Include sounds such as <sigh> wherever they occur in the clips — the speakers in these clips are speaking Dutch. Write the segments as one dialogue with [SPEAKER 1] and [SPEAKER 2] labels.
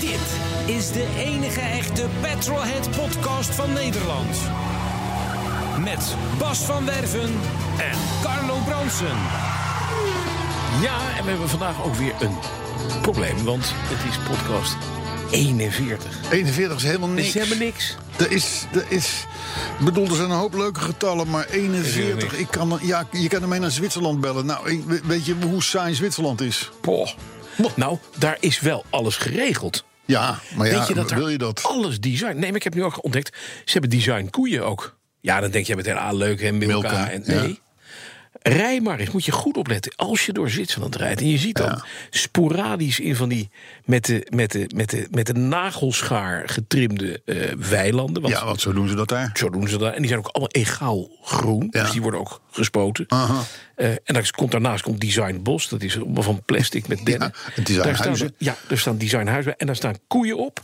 [SPEAKER 1] Dit is de enige echte Petrolhead podcast van Nederland. Met Bas van Werven en Carlo Bronsen.
[SPEAKER 2] Ja, en we hebben vandaag ook weer een probleem, want het is podcast 41.
[SPEAKER 3] 41 is helemaal
[SPEAKER 2] Dus
[SPEAKER 3] niks.
[SPEAKER 2] ze hebben niks.
[SPEAKER 3] Er is, er is, ik bedoel, er zijn een hoop leuke getallen, maar
[SPEAKER 2] helemaal
[SPEAKER 3] 41.
[SPEAKER 2] niks.
[SPEAKER 3] Ik kan, er- ja, je kan ermee naar Zwitserland bellen. Nou, ik- we- weet je hoe saai Zwitserland is?
[SPEAKER 2] Poh. Nou, daar is wel alles geregeld.
[SPEAKER 3] Ja, maar ja,
[SPEAKER 2] Weet je dat er
[SPEAKER 3] wil je dat?
[SPEAKER 2] alles design... Nee, maar ik heb nu ook ontdekt, ze hebben design koeien ook. Ja, dan denk je meteen, ah leuk en Milka.
[SPEAKER 3] Milka,
[SPEAKER 2] en,
[SPEAKER 3] ja.
[SPEAKER 2] nee. Rij maar eens, moet je goed opletten. Als je door Zwitserland rijdt en je ziet dan sporadisch in van die... met de, met de, met de, met de nagelschaar getrimde eh, weilanden... want
[SPEAKER 3] Ja, wat zo doen ze dat daar?
[SPEAKER 2] Zo doen ze dat. En die zijn ook allemaal egaal groen.
[SPEAKER 3] Ja.
[SPEAKER 2] Dus die worden ook gespoten.
[SPEAKER 3] Aha.
[SPEAKER 2] Eh, en daar komt, daarnaast komt Design Bos. Dat is allemaal van plastic met dennen.
[SPEAKER 3] en design
[SPEAKER 2] daar staan,
[SPEAKER 3] huizen.
[SPEAKER 2] ja, daar staan Design Huizen bij. En daar staan koeien op.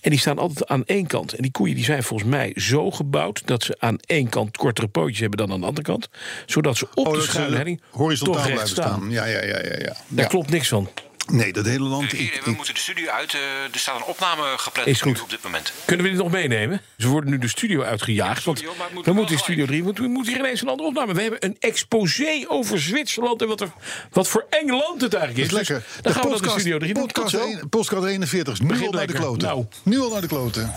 [SPEAKER 2] En die staan altijd aan één kant. En die koeien die zijn volgens mij zo gebouwd... dat ze aan één kant kortere pootjes hebben dan aan de andere kant. Zodat ze op de
[SPEAKER 3] Oh, dat ze
[SPEAKER 2] schuilheading
[SPEAKER 3] horizontaal
[SPEAKER 2] toch recht
[SPEAKER 3] blijven staan. Ja, ja, ja, ja. ja.
[SPEAKER 2] Daar
[SPEAKER 3] Ja.
[SPEAKER 2] klopt niks van.
[SPEAKER 3] Nee, dat hele land.
[SPEAKER 4] Heren,
[SPEAKER 3] ik-
[SPEAKER 4] we
[SPEAKER 3] ik-
[SPEAKER 4] moeten de studio uit. eh, er staat een opname gepland
[SPEAKER 2] Is goed.
[SPEAKER 4] nu op dit moment.
[SPEAKER 2] Kunnen we dit nog meenemen? Ze worden nu de studio uitgejaagd. Want
[SPEAKER 4] Studio, maar het moet
[SPEAKER 2] we
[SPEAKER 4] wel
[SPEAKER 2] moeten in studio 3, want we moeten hier ineens een andere opname. We hebben een exposé over Zwitserland en wat, er, wat voor eng land het eigenlijk is.
[SPEAKER 3] Dat is lekker.
[SPEAKER 2] Dus dan gaan we naar de studio 3 doen. Tot
[SPEAKER 3] podcast,
[SPEAKER 2] zo.
[SPEAKER 3] een- podcast 41 is nu
[SPEAKER 2] Begin
[SPEAKER 3] al naar de
[SPEAKER 2] lekker.
[SPEAKER 3] kloten.
[SPEAKER 2] Nou.
[SPEAKER 3] Nu al naar de kloten.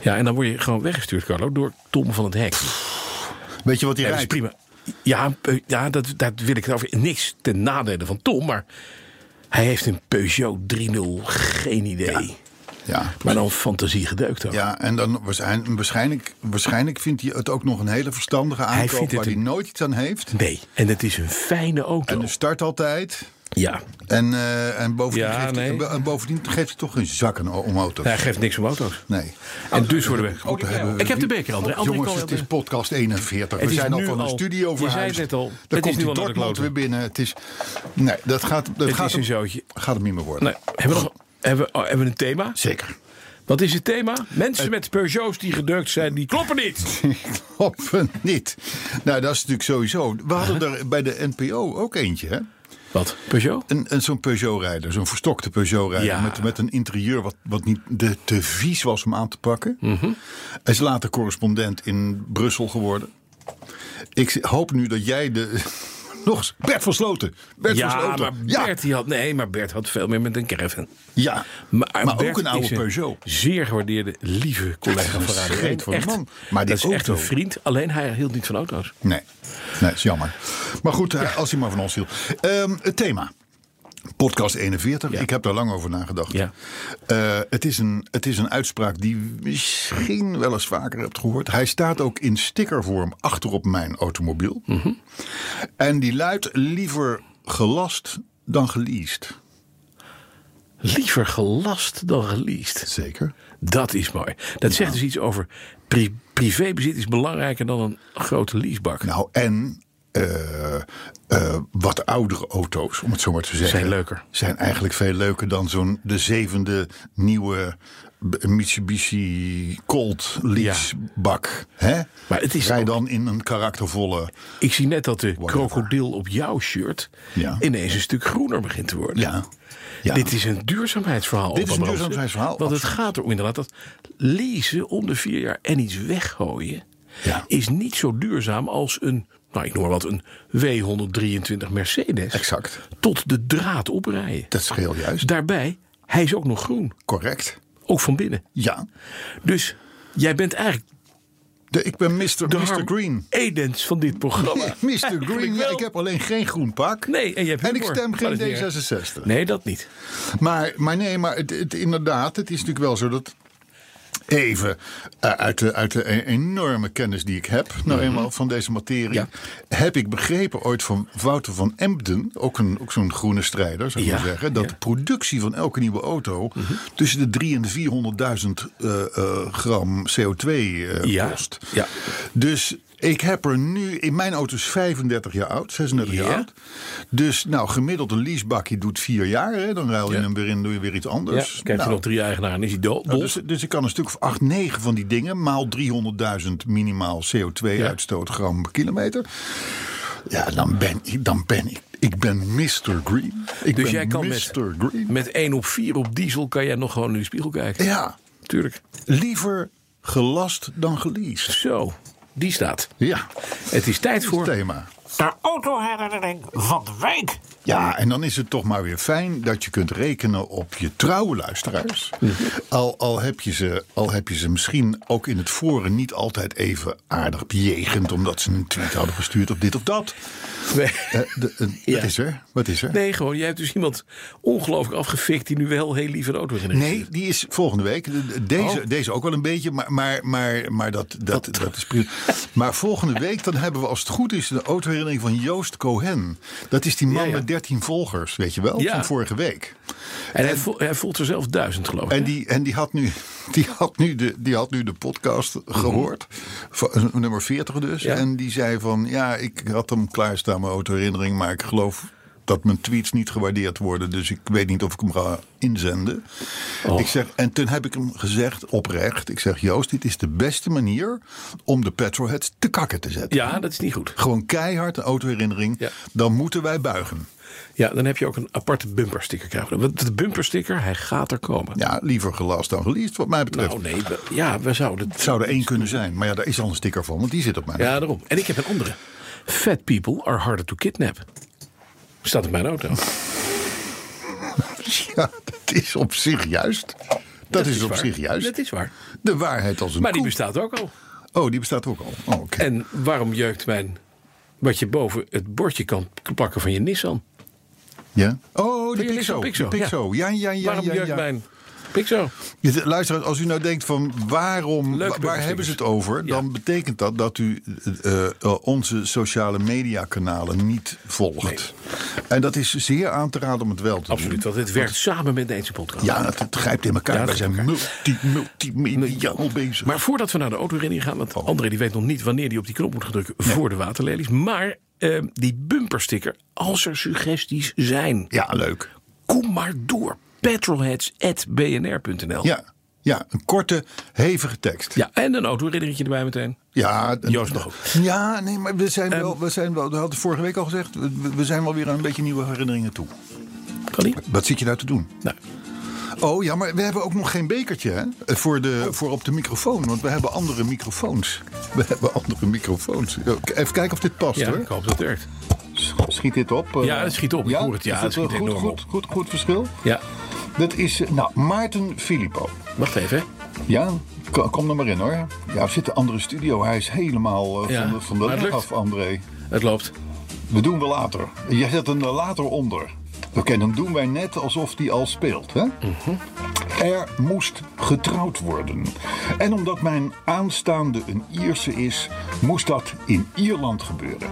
[SPEAKER 2] Ja, en dan word je gewoon weggestuurd, Carlo, door Tom van het Hek.
[SPEAKER 3] Weet je wat die
[SPEAKER 2] Ja, dat is
[SPEAKER 3] rijdt?
[SPEAKER 2] prima. Ja, eh, ja dat, dat wil ik over. Niks ten nadele van Tom, maar hij heeft een Peugeot 3.0, geen idee.
[SPEAKER 3] Ja.
[SPEAKER 2] Maar dan fantasie gedeukt ook.
[SPEAKER 3] Ja, en dan waarschijn- waarschijnlijk, waarschijnlijk vindt hij het ook nog een hele verstandige aankoop
[SPEAKER 2] vindt het
[SPEAKER 3] waar hij
[SPEAKER 2] een-
[SPEAKER 3] nooit iets aan heeft.
[SPEAKER 2] Nee, en het is een fijne auto.
[SPEAKER 3] En de start altijd.
[SPEAKER 2] Ja,
[SPEAKER 3] En, eh, en, bovendien
[SPEAKER 2] Ja,
[SPEAKER 3] geeft
[SPEAKER 2] nee.
[SPEAKER 3] hij, en bovendien geeft hij toch geen zakken om auto's.
[SPEAKER 2] hij geeft niks om auto's.
[SPEAKER 3] Nee.
[SPEAKER 2] En dus worden we.
[SPEAKER 3] Auto hebben we-
[SPEAKER 2] Ik heb de beker, André. André
[SPEAKER 3] Jongens,
[SPEAKER 2] kan-
[SPEAKER 3] het is podcast 41.
[SPEAKER 2] Het
[SPEAKER 3] we
[SPEAKER 2] is
[SPEAKER 3] zijn al
[SPEAKER 2] nu
[SPEAKER 3] van
[SPEAKER 2] al-
[SPEAKER 3] de studio
[SPEAKER 2] je zei
[SPEAKER 3] verhuisd.
[SPEAKER 2] het net al, het
[SPEAKER 3] Dan
[SPEAKER 2] is
[SPEAKER 3] komt
[SPEAKER 2] nu
[SPEAKER 3] die
[SPEAKER 2] al naar de
[SPEAKER 3] Dortmund
[SPEAKER 2] kloten.
[SPEAKER 3] weer binnen. Het is, nee, dat gaat, dat
[SPEAKER 2] Het
[SPEAKER 3] gaat,
[SPEAKER 2] is een
[SPEAKER 3] hem,
[SPEAKER 2] zootje.
[SPEAKER 3] gaat hem niet meer worden.
[SPEAKER 2] Nee, hebben we nog hebben, oh, hebben we een thema?
[SPEAKER 3] Zeker. <laughs>
[SPEAKER 2] Wat is het thema? Mensen met Peugeots die gedeukt zijn, die kloppen niet.
[SPEAKER 3] Ik hoop het niet. Nou, dat is natuurlijk sowieso. We hadden
[SPEAKER 2] <laughs>
[SPEAKER 3] er bij de NPO ook eentje, hè?
[SPEAKER 2] Wat? Peugeot?
[SPEAKER 3] Een, een zo'n Peugeot-rijder, zo'n verstokte Peugeot-rijder.
[SPEAKER 2] Ja.
[SPEAKER 3] Met, met een interieur wat, wat niet de, te vies was om aan te pakken.
[SPEAKER 2] Mhm.
[SPEAKER 3] Hij is later correspondent in Brussel geworden. Ik z- hoop nu dat jij de. <laughs> Nog eens, Bert van Sloten. Bert van
[SPEAKER 2] Ja,
[SPEAKER 3] Sloten.
[SPEAKER 2] maar Bert, die had, nee, maar Bert had veel meer met een caravan. eh,
[SPEAKER 3] ja, maar,
[SPEAKER 2] Bert
[SPEAKER 3] ook een
[SPEAKER 2] is
[SPEAKER 3] oude Peugeot.
[SPEAKER 2] Zeer gewaardeerde, lieve collega
[SPEAKER 3] een
[SPEAKER 2] van Radio
[SPEAKER 3] scheet
[SPEAKER 2] 1.
[SPEAKER 3] van een
[SPEAKER 2] Echt.
[SPEAKER 3] man. Maar
[SPEAKER 2] dat
[SPEAKER 3] die
[SPEAKER 2] is echt een
[SPEAKER 3] auto.
[SPEAKER 2] vriend, alleen hij hield niet van auto's.
[SPEAKER 3] Nee, nee, is jammer. Maar goed, hij- als hij maar van ons hield. Ehm, het thema. Podcast 41. Ik heb daar lang over nagedacht.
[SPEAKER 2] Ja.
[SPEAKER 3] Eh, het, is een, het is een uitspraak die je misschien wel eens vaker hebt gehoord. Hij staat ook in stickervorm achterop mijn automobiel. En die luidt liever gelast dan geleased.
[SPEAKER 2] Liever gelast dan geleased.
[SPEAKER 3] Zeker.
[SPEAKER 2] Dat is mooi. Dat zegt dus iets over pri- privébezit is belangrijker dan een grote leasebak.
[SPEAKER 3] Nou, en eh, eh, wat oudere auto's, om het zo maar te zeggen.
[SPEAKER 2] Zijn leuker.
[SPEAKER 3] Zijn eigenlijk veel leuker dan zo'n de zevende nieuwe B- Mitsubishi Colt leasebak. hè?
[SPEAKER 2] Maar het is
[SPEAKER 3] Rij
[SPEAKER 2] ook-
[SPEAKER 3] dan in een karaktervolle...
[SPEAKER 2] Ik zie net dat de
[SPEAKER 3] Whatever.
[SPEAKER 2] krokodil op jouw shirt
[SPEAKER 3] Ja.
[SPEAKER 2] ineens een stuk groener begint te worden.
[SPEAKER 3] Ja. ja.
[SPEAKER 2] Dit is een duurzaamheidsverhaal.
[SPEAKER 3] Dit is
[SPEAKER 2] Opa
[SPEAKER 3] een
[SPEAKER 2] Bransen.
[SPEAKER 3] duurzaamheidsverhaal,
[SPEAKER 2] Want het
[SPEAKER 3] absoluut.
[SPEAKER 2] gaat erom inderdaad dat lezen om de vier jaar en iets weggooien...
[SPEAKER 3] Ja.
[SPEAKER 2] is niet zo duurzaam als een, nou ik noem maar wat, een W123 Mercedes.
[SPEAKER 3] Exact.
[SPEAKER 2] Tot de draad oprijden. Dus
[SPEAKER 3] Dat scheelt juist.
[SPEAKER 2] Daarbij, hij is ook nog groen.
[SPEAKER 3] Correct.
[SPEAKER 2] Ook van binnen.
[SPEAKER 3] Ja.
[SPEAKER 2] Dus jij bent eigenlijk
[SPEAKER 3] De, ik ben Mr.
[SPEAKER 2] de
[SPEAKER 3] Mr.
[SPEAKER 2] Harm
[SPEAKER 3] Green.
[SPEAKER 2] Edens van dit
[SPEAKER 3] <laughs>
[SPEAKER 2] programma. <laughs>
[SPEAKER 3] Mr.
[SPEAKER 2] Eigenlijk
[SPEAKER 3] Green, ja,
[SPEAKER 2] wel.
[SPEAKER 3] ik heb alleen geen groen pak.
[SPEAKER 2] Nee, en je hebt
[SPEAKER 3] ik
[SPEAKER 2] humor.
[SPEAKER 3] stem
[SPEAKER 2] Maar
[SPEAKER 3] geen
[SPEAKER 2] dat is niet
[SPEAKER 3] D66.
[SPEAKER 2] Nee, dat niet.
[SPEAKER 3] Maar, maar nee, maar het, het- inderdaad, het is natuurlijk wel zo dat. even eh, uit, de, uit de e- enorme kennis die ik heb, nou eenmaal van deze materie,
[SPEAKER 2] Mhm. Ja.
[SPEAKER 3] heb ik begrepen ooit van Wouter van Emden, ook, een, ook zo'n groene strijder, zou ik
[SPEAKER 2] Ja,
[SPEAKER 3] maar zeggen, dat
[SPEAKER 2] ja. Mhm.
[SPEAKER 3] de productie van elke nieuwe auto tussen de 300.000 en 400.000 eh, eh, gram CO2 eh,
[SPEAKER 2] Ja,
[SPEAKER 3] kost.
[SPEAKER 2] ja.
[SPEAKER 3] Dus ik heb er nu, in mijn auto is 35 jaar oud, 36
[SPEAKER 2] Ja.
[SPEAKER 3] jaar oud. Dus nou, gemiddeld een leasebakje doet vier jaar. Hè? Dan ruil je hem weer in, doe je weer iets
[SPEAKER 2] Ja,
[SPEAKER 3] anders.
[SPEAKER 2] krijgt hij
[SPEAKER 3] Nou,
[SPEAKER 2] nog drie eigenaren, is hij dood.
[SPEAKER 3] nou,
[SPEAKER 2] bos.
[SPEAKER 3] dus, dus ik kan een stuk of 8, 9 van die dingen, maal 300.000 minimaal CO2-uitstoot gram per kilometer. Ja, dan ben ik, dan ben ik, ik ben Mr. Green. Ik
[SPEAKER 2] dus
[SPEAKER 3] ben
[SPEAKER 2] jij kan
[SPEAKER 3] Mr.
[SPEAKER 2] met,
[SPEAKER 3] Green.
[SPEAKER 2] met 1 op 4 op diesel kan jij nog gewoon in de spiegel kijken.
[SPEAKER 3] Ja,
[SPEAKER 2] Tuurlijk.
[SPEAKER 3] liever gelast dan geleased.
[SPEAKER 2] Zo, die staat.
[SPEAKER 3] Ja,
[SPEAKER 2] Het is tijd voor...
[SPEAKER 3] thema.
[SPEAKER 5] De autoherinnering van de week.
[SPEAKER 3] Ja, en dan is het toch maar weer fijn dat je kunt rekenen op je trouwe luisteraars. Al, al, heb je ze, al heb je ze misschien ook in het forum niet altijd even aardig bejegend... omdat ze een tweet hadden gestuurd of dit of
[SPEAKER 2] <laughs>
[SPEAKER 3] dat.
[SPEAKER 2] Nee.
[SPEAKER 3] Eh, de- eh,
[SPEAKER 2] Ja.
[SPEAKER 3] Wat is er? Wat is er?
[SPEAKER 2] Nee, gewoon, jij hebt dus iemand ongelooflijk afgefikt... die nu wel heel lief een auto heeft geregistreerd.
[SPEAKER 3] Nee, die is volgende week. De- de- Deze,
[SPEAKER 2] Oh.
[SPEAKER 3] deze ook wel een beetje, maar, maar, maar, maar dat, dat, dat, is prima. Maar volgende week dan hebben we als het goed is de autoherinnering van Joost Cohen. Dat is die man
[SPEAKER 2] Ja, ja.
[SPEAKER 3] met 13 volgers, weet je wel,
[SPEAKER 2] Ja.
[SPEAKER 3] van vorige week.
[SPEAKER 2] En hij, vo- hij voelt er zelf duizend, geloof ik.
[SPEAKER 3] En die, en die, had, nu, <laughs> die, had, nu de, die had nu de podcast gehoord, van, eh, nummer 40 dus.
[SPEAKER 2] Mhm. Ja.
[SPEAKER 3] En die zei van, ja, ik had hem klaarstaan, mijn autoherinnering, maar ik geloof dat mijn tweets niet gewaardeerd worden, dus ik weet niet of ik hem ga inzenden.
[SPEAKER 2] Oh.
[SPEAKER 3] Ik zeg, en toen heb ik hem gezegd, oprecht, ik zeg, Joost, dit is de beste manier om de petrolheads te kakken te zetten.
[SPEAKER 2] Ja, dat is niet goed.
[SPEAKER 3] Gewoon keihard een autoherinnering,
[SPEAKER 2] Ja.
[SPEAKER 3] dan moeten wij buigen.
[SPEAKER 2] Ja, dan heb je ook een aparte bumpersticker krijgen. Want de bumpersticker, hij gaat er komen.
[SPEAKER 3] Ja, liever gelast dan geleased, wat mij betreft.
[SPEAKER 2] nou, nee, we- ja, we zouden...
[SPEAKER 3] Het zou er één kunnen zijn, maar ja, daar is al een sticker van, want die zit op mij.
[SPEAKER 2] Ja, daarom. En ik heb een andere. Fat people are harder to kidnap. Staat in mijn auto.
[SPEAKER 3] <laughs> Ja, dat is op zich juist. Dat, is, op
[SPEAKER 2] waar.
[SPEAKER 3] zich juist.
[SPEAKER 2] Dat is waar.
[SPEAKER 3] De waarheid als een
[SPEAKER 2] Maar die
[SPEAKER 3] koe.
[SPEAKER 2] bestaat ook al.
[SPEAKER 3] Oh, die bestaat ook al. Oh, oké.
[SPEAKER 2] En waarom jeukt mijn... wat je boven het bordje kan plakken van je Nissan?
[SPEAKER 3] Ja? Oh,
[SPEAKER 2] Van
[SPEAKER 3] die
[SPEAKER 2] je
[SPEAKER 3] Pixo.
[SPEAKER 2] Nissan
[SPEAKER 3] Pixo.
[SPEAKER 2] Pixo.
[SPEAKER 3] Pixo. Ja, ja, ja.
[SPEAKER 2] waarom
[SPEAKER 3] ja,
[SPEAKER 2] jeukt
[SPEAKER 3] ja.
[SPEAKER 2] mijn Pixo?
[SPEAKER 3] Je- Luisteraars, als u nou denkt van waarom,
[SPEAKER 2] Leuke
[SPEAKER 3] wa- waar hebben ze het over?
[SPEAKER 2] Ja.
[SPEAKER 3] Dan betekent dat dat u eh, eh, onze sociale media kanalen niet volgt. En dat is zeer aan te raden om het wel te
[SPEAKER 2] Absoluut,
[SPEAKER 3] doen.
[SPEAKER 2] want het werkt samen met deze podcast.
[SPEAKER 3] Ja, het, het grijpt in elkaar.
[SPEAKER 2] Ja,
[SPEAKER 3] Wij
[SPEAKER 2] dat
[SPEAKER 3] zijn multi, multimediaal bezig. Oh.
[SPEAKER 2] Maar voordat we naar de autoherinnering gaan, want André die weet nog niet wanneer hij op die knop moet gaan drukken voor de waterlelies. Maar eh, die bumpersticker, als er suggesties zijn,
[SPEAKER 3] ja, leuk.
[SPEAKER 2] kom maar door. Petrolheads.bnr.nl.
[SPEAKER 3] Ja, ja, een korte, hevige tekst.
[SPEAKER 2] ja, en een autoherinnering erbij meteen.
[SPEAKER 3] Ja, en-
[SPEAKER 2] Joost nog ook. Ehm,
[SPEAKER 3] Ja, nee, maar we zijn wel, we zijn wel, we hadden vorige week al gezegd, we, we zijn wel weer aan een beetje nieuwe herinneringen toe.
[SPEAKER 2] Kan die?
[SPEAKER 3] Wat zit je nou te doen?
[SPEAKER 2] Nou,
[SPEAKER 3] Oh ja, maar we hebben ook nog geen bekertje hè? Eh, Voor, de, voor op de microfoon, want we hebben andere microfoons. <laughs> We hebben andere microfoons. Even kijken of dit past
[SPEAKER 2] ja, ik
[SPEAKER 3] hoor.
[SPEAKER 2] hoop dat het werkt.
[SPEAKER 3] Schiet dit op? eh?
[SPEAKER 2] Ja, het schiet op. Ik hoor het. Ja,
[SPEAKER 3] Is
[SPEAKER 2] het
[SPEAKER 3] wel
[SPEAKER 2] schiet
[SPEAKER 3] goed,
[SPEAKER 2] enorm
[SPEAKER 3] goed,
[SPEAKER 2] op.
[SPEAKER 3] goed, goed verschil.
[SPEAKER 2] Ja,
[SPEAKER 3] Dat is, eh, nou, Maarten Filippo.
[SPEAKER 2] wacht even. hè.
[SPEAKER 3] Ja, ko- kom er maar in hoor. Ja, we zitten in een andere studio. Hij is helemaal eh,
[SPEAKER 2] Ja,
[SPEAKER 3] van de, van
[SPEAKER 2] maar
[SPEAKER 3] de
[SPEAKER 2] het
[SPEAKER 3] lucht
[SPEAKER 2] lukt.
[SPEAKER 3] af, André.
[SPEAKER 2] Het loopt.
[SPEAKER 3] We doen we later. Jij zet hem er later onder. Oké, dan doen wij net alsof die al speelt. Hè? Er moest getrouwd worden. En omdat mijn aanstaande een Ierse is, moest dat in Ierland gebeuren.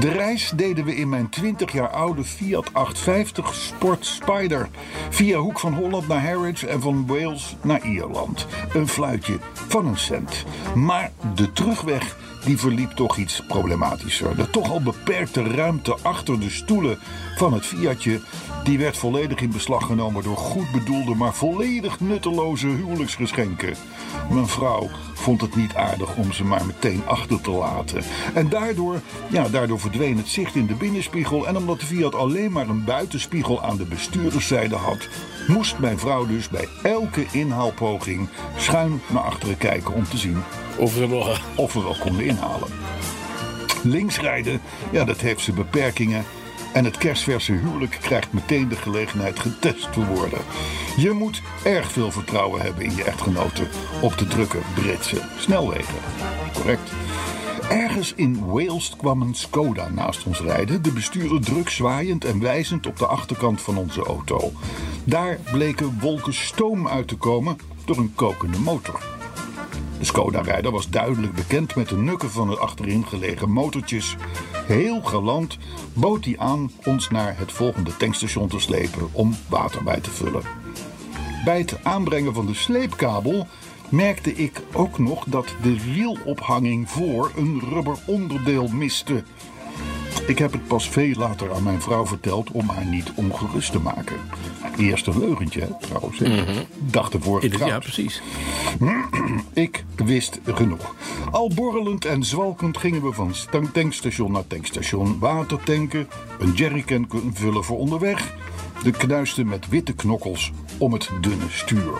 [SPEAKER 3] De reis deden we in mijn 20 jaar oude Fiat 850 Sport Spider. Via Hoek van Holland naar Harwich en van Wales naar Ierland. Een fluitje van een cent. Maar de terugweg die verliep toch iets problematischer. De toch al beperkte ruimte achter de stoelen van het Fiatje... die werd volledig in beslag genomen door goed bedoelde... maar volledig nutteloze huwelijksgeschenken. Mijn vrouw vond het niet aardig om ze maar meteen achter te laten. En daardoor, ja, daardoor verdween het zicht in de binnenspiegel... en omdat de Fiat alleen maar een buitenspiegel aan de bestuurderszijde had... moest mijn vrouw dus bij elke inhaalpoging schuin naar achteren kijken om te zien
[SPEAKER 2] Of we nog.
[SPEAKER 3] of we wel konden inhalen. Links rijden, ja, dat heeft zijn beperkingen. En het kerstverse huwelijk krijgt meteen de gelegenheid getest te worden. Je moet erg veel vertrouwen hebben in je echtgenoten op de drukke Britse snelwegen. Correct. Ergens in Wales kwam een Skoda naast ons rijden, de bestuurder druk zwaaiend en wijzend op de achterkant van onze auto. Daar bleken wolken stoom uit te komen door een kokende motor. Skoda-rijder was duidelijk bekend met de nukken van de achterin gelegen motortjes. Heel galant bood hij aan ons naar het volgende tankstation te slepen om water bij te vullen. Bij het aanbrengen van de sleepkabel merkte ik ook nog dat de wielophanging voor een rubber onderdeel miste. Ik heb het pas veel later aan mijn vrouw verteld om haar niet ongerust te maken. Eerst een leugentje, hè, trouwens. hè. Dacht ervoor
[SPEAKER 2] In de- ja,
[SPEAKER 3] getrouwd.
[SPEAKER 2] precies.
[SPEAKER 3] Ik wist genoeg. Al borrelend en zwalkend gingen we van stank- tankstation naar tankstation water tanken, een jerrycan kunnen vullen voor onderweg, de knuisten met witte knokkels om het dunne stuur.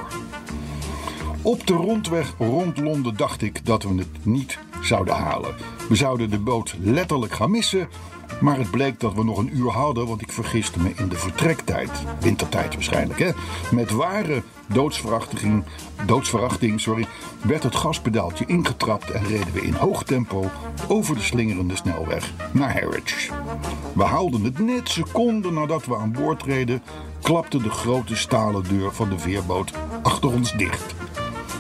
[SPEAKER 3] Op de rondweg rond Londen dacht ik dat we het niet zouden halen. We zouden de boot letterlijk gaan missen, maar het bleek dat we nog een uur hadden, want ik vergiste me in de vertrektijd. Wintertijd waarschijnlijk, hè? Met ware doodsverachting, doodsverachting sorry, werd het gaspedaaltje ingetrapt en reden we in hoog tempo over de slingerende snelweg naar Harwich. We haalden het net seconden nadat we aan boord reden, klapte de grote stalen deur van de veerboot achter ons dicht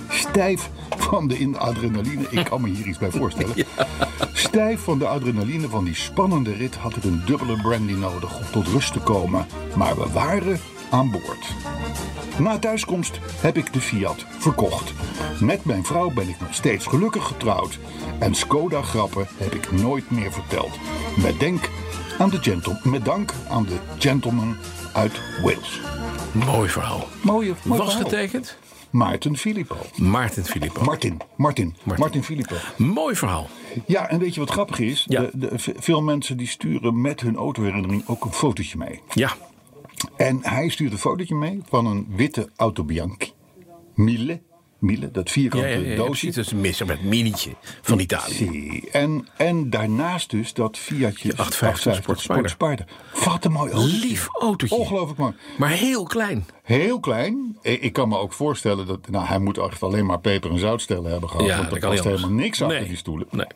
[SPEAKER 3] stijf van de in- adrenaline. Ik kan me hier iets bij voorstellen. Stijf van de adrenaline van die spannende rit had ik een dubbele brandy nodig om tot rust te komen. Maar we waren aan boord. Na thuiskomst heb ik de Fiat verkocht. Met mijn vrouw ben ik nog steeds gelukkig getrouwd. En Skoda-grappen heb ik nooit meer verteld. Met, denk aan de gentle, met dank aan de gentleman uit Wales.
[SPEAKER 2] Mooi verhaal.
[SPEAKER 3] Mooie, mooi
[SPEAKER 2] Was
[SPEAKER 3] verhaal.
[SPEAKER 2] getekend?
[SPEAKER 3] Maarten Filippo.
[SPEAKER 2] Maarten Filippo.
[SPEAKER 3] Martin, Martin, Martin, Martin Filippo.
[SPEAKER 2] Mooi verhaal.
[SPEAKER 3] Ja, en weet je wat grappig is?
[SPEAKER 2] Ja.
[SPEAKER 3] De, de, ve- veel mensen die sturen met hun autoherinnering ook een fotootje mee.
[SPEAKER 2] Ja.
[SPEAKER 3] En hij stuurt een fotootje mee van een witte Auto Bianchi. Mille, Mille dat
[SPEAKER 2] Ja,
[SPEAKER 3] vierkante
[SPEAKER 2] ja, ja, ja,
[SPEAKER 3] doosje.
[SPEAKER 2] precies. Dat is een mis, met minietje van Italië.
[SPEAKER 3] Zie. En, en daarnaast dus dat Fiatje
[SPEAKER 2] 850 Sport Spider.
[SPEAKER 3] Wat een mooi autootje.
[SPEAKER 2] Lief autootje.
[SPEAKER 3] Ongelooflijk Oh, mooi.
[SPEAKER 2] Maar heel klein.
[SPEAKER 3] Heel klein. I- Ik kan me ook voorstellen dat... Nou, hij moet echt alleen maar peper en zoutstellen hebben gehad. want er
[SPEAKER 2] dat kan
[SPEAKER 3] past
[SPEAKER 2] niet anders.
[SPEAKER 3] helemaal niks achter
[SPEAKER 2] Nee.
[SPEAKER 3] die stoelen.
[SPEAKER 2] Nee.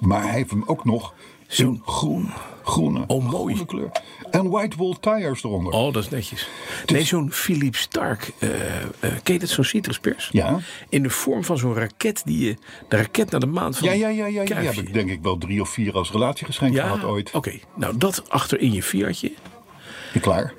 [SPEAKER 3] Maar hij heeft hem ook nog zo'n groen, groene,
[SPEAKER 2] Oh, mooi.
[SPEAKER 3] groene kleur. En white wall tires eronder.
[SPEAKER 2] Oh, dat is netjes.
[SPEAKER 3] Dus-
[SPEAKER 2] Nee, zo'n Philip Stark. eh, eh, ken je dat, zo'n citruspers?
[SPEAKER 3] Ja.
[SPEAKER 2] In de vorm van zo'n raket die je... De raket naar de maan van...
[SPEAKER 3] ja, ja, ja, ja. Die
[SPEAKER 2] Kuifje.
[SPEAKER 3] heb ik denk ik wel drie of vier als relatiegeschenk gehad ooit.
[SPEAKER 2] Oké, nou dat achter in je Fiatje.
[SPEAKER 3] Klaar.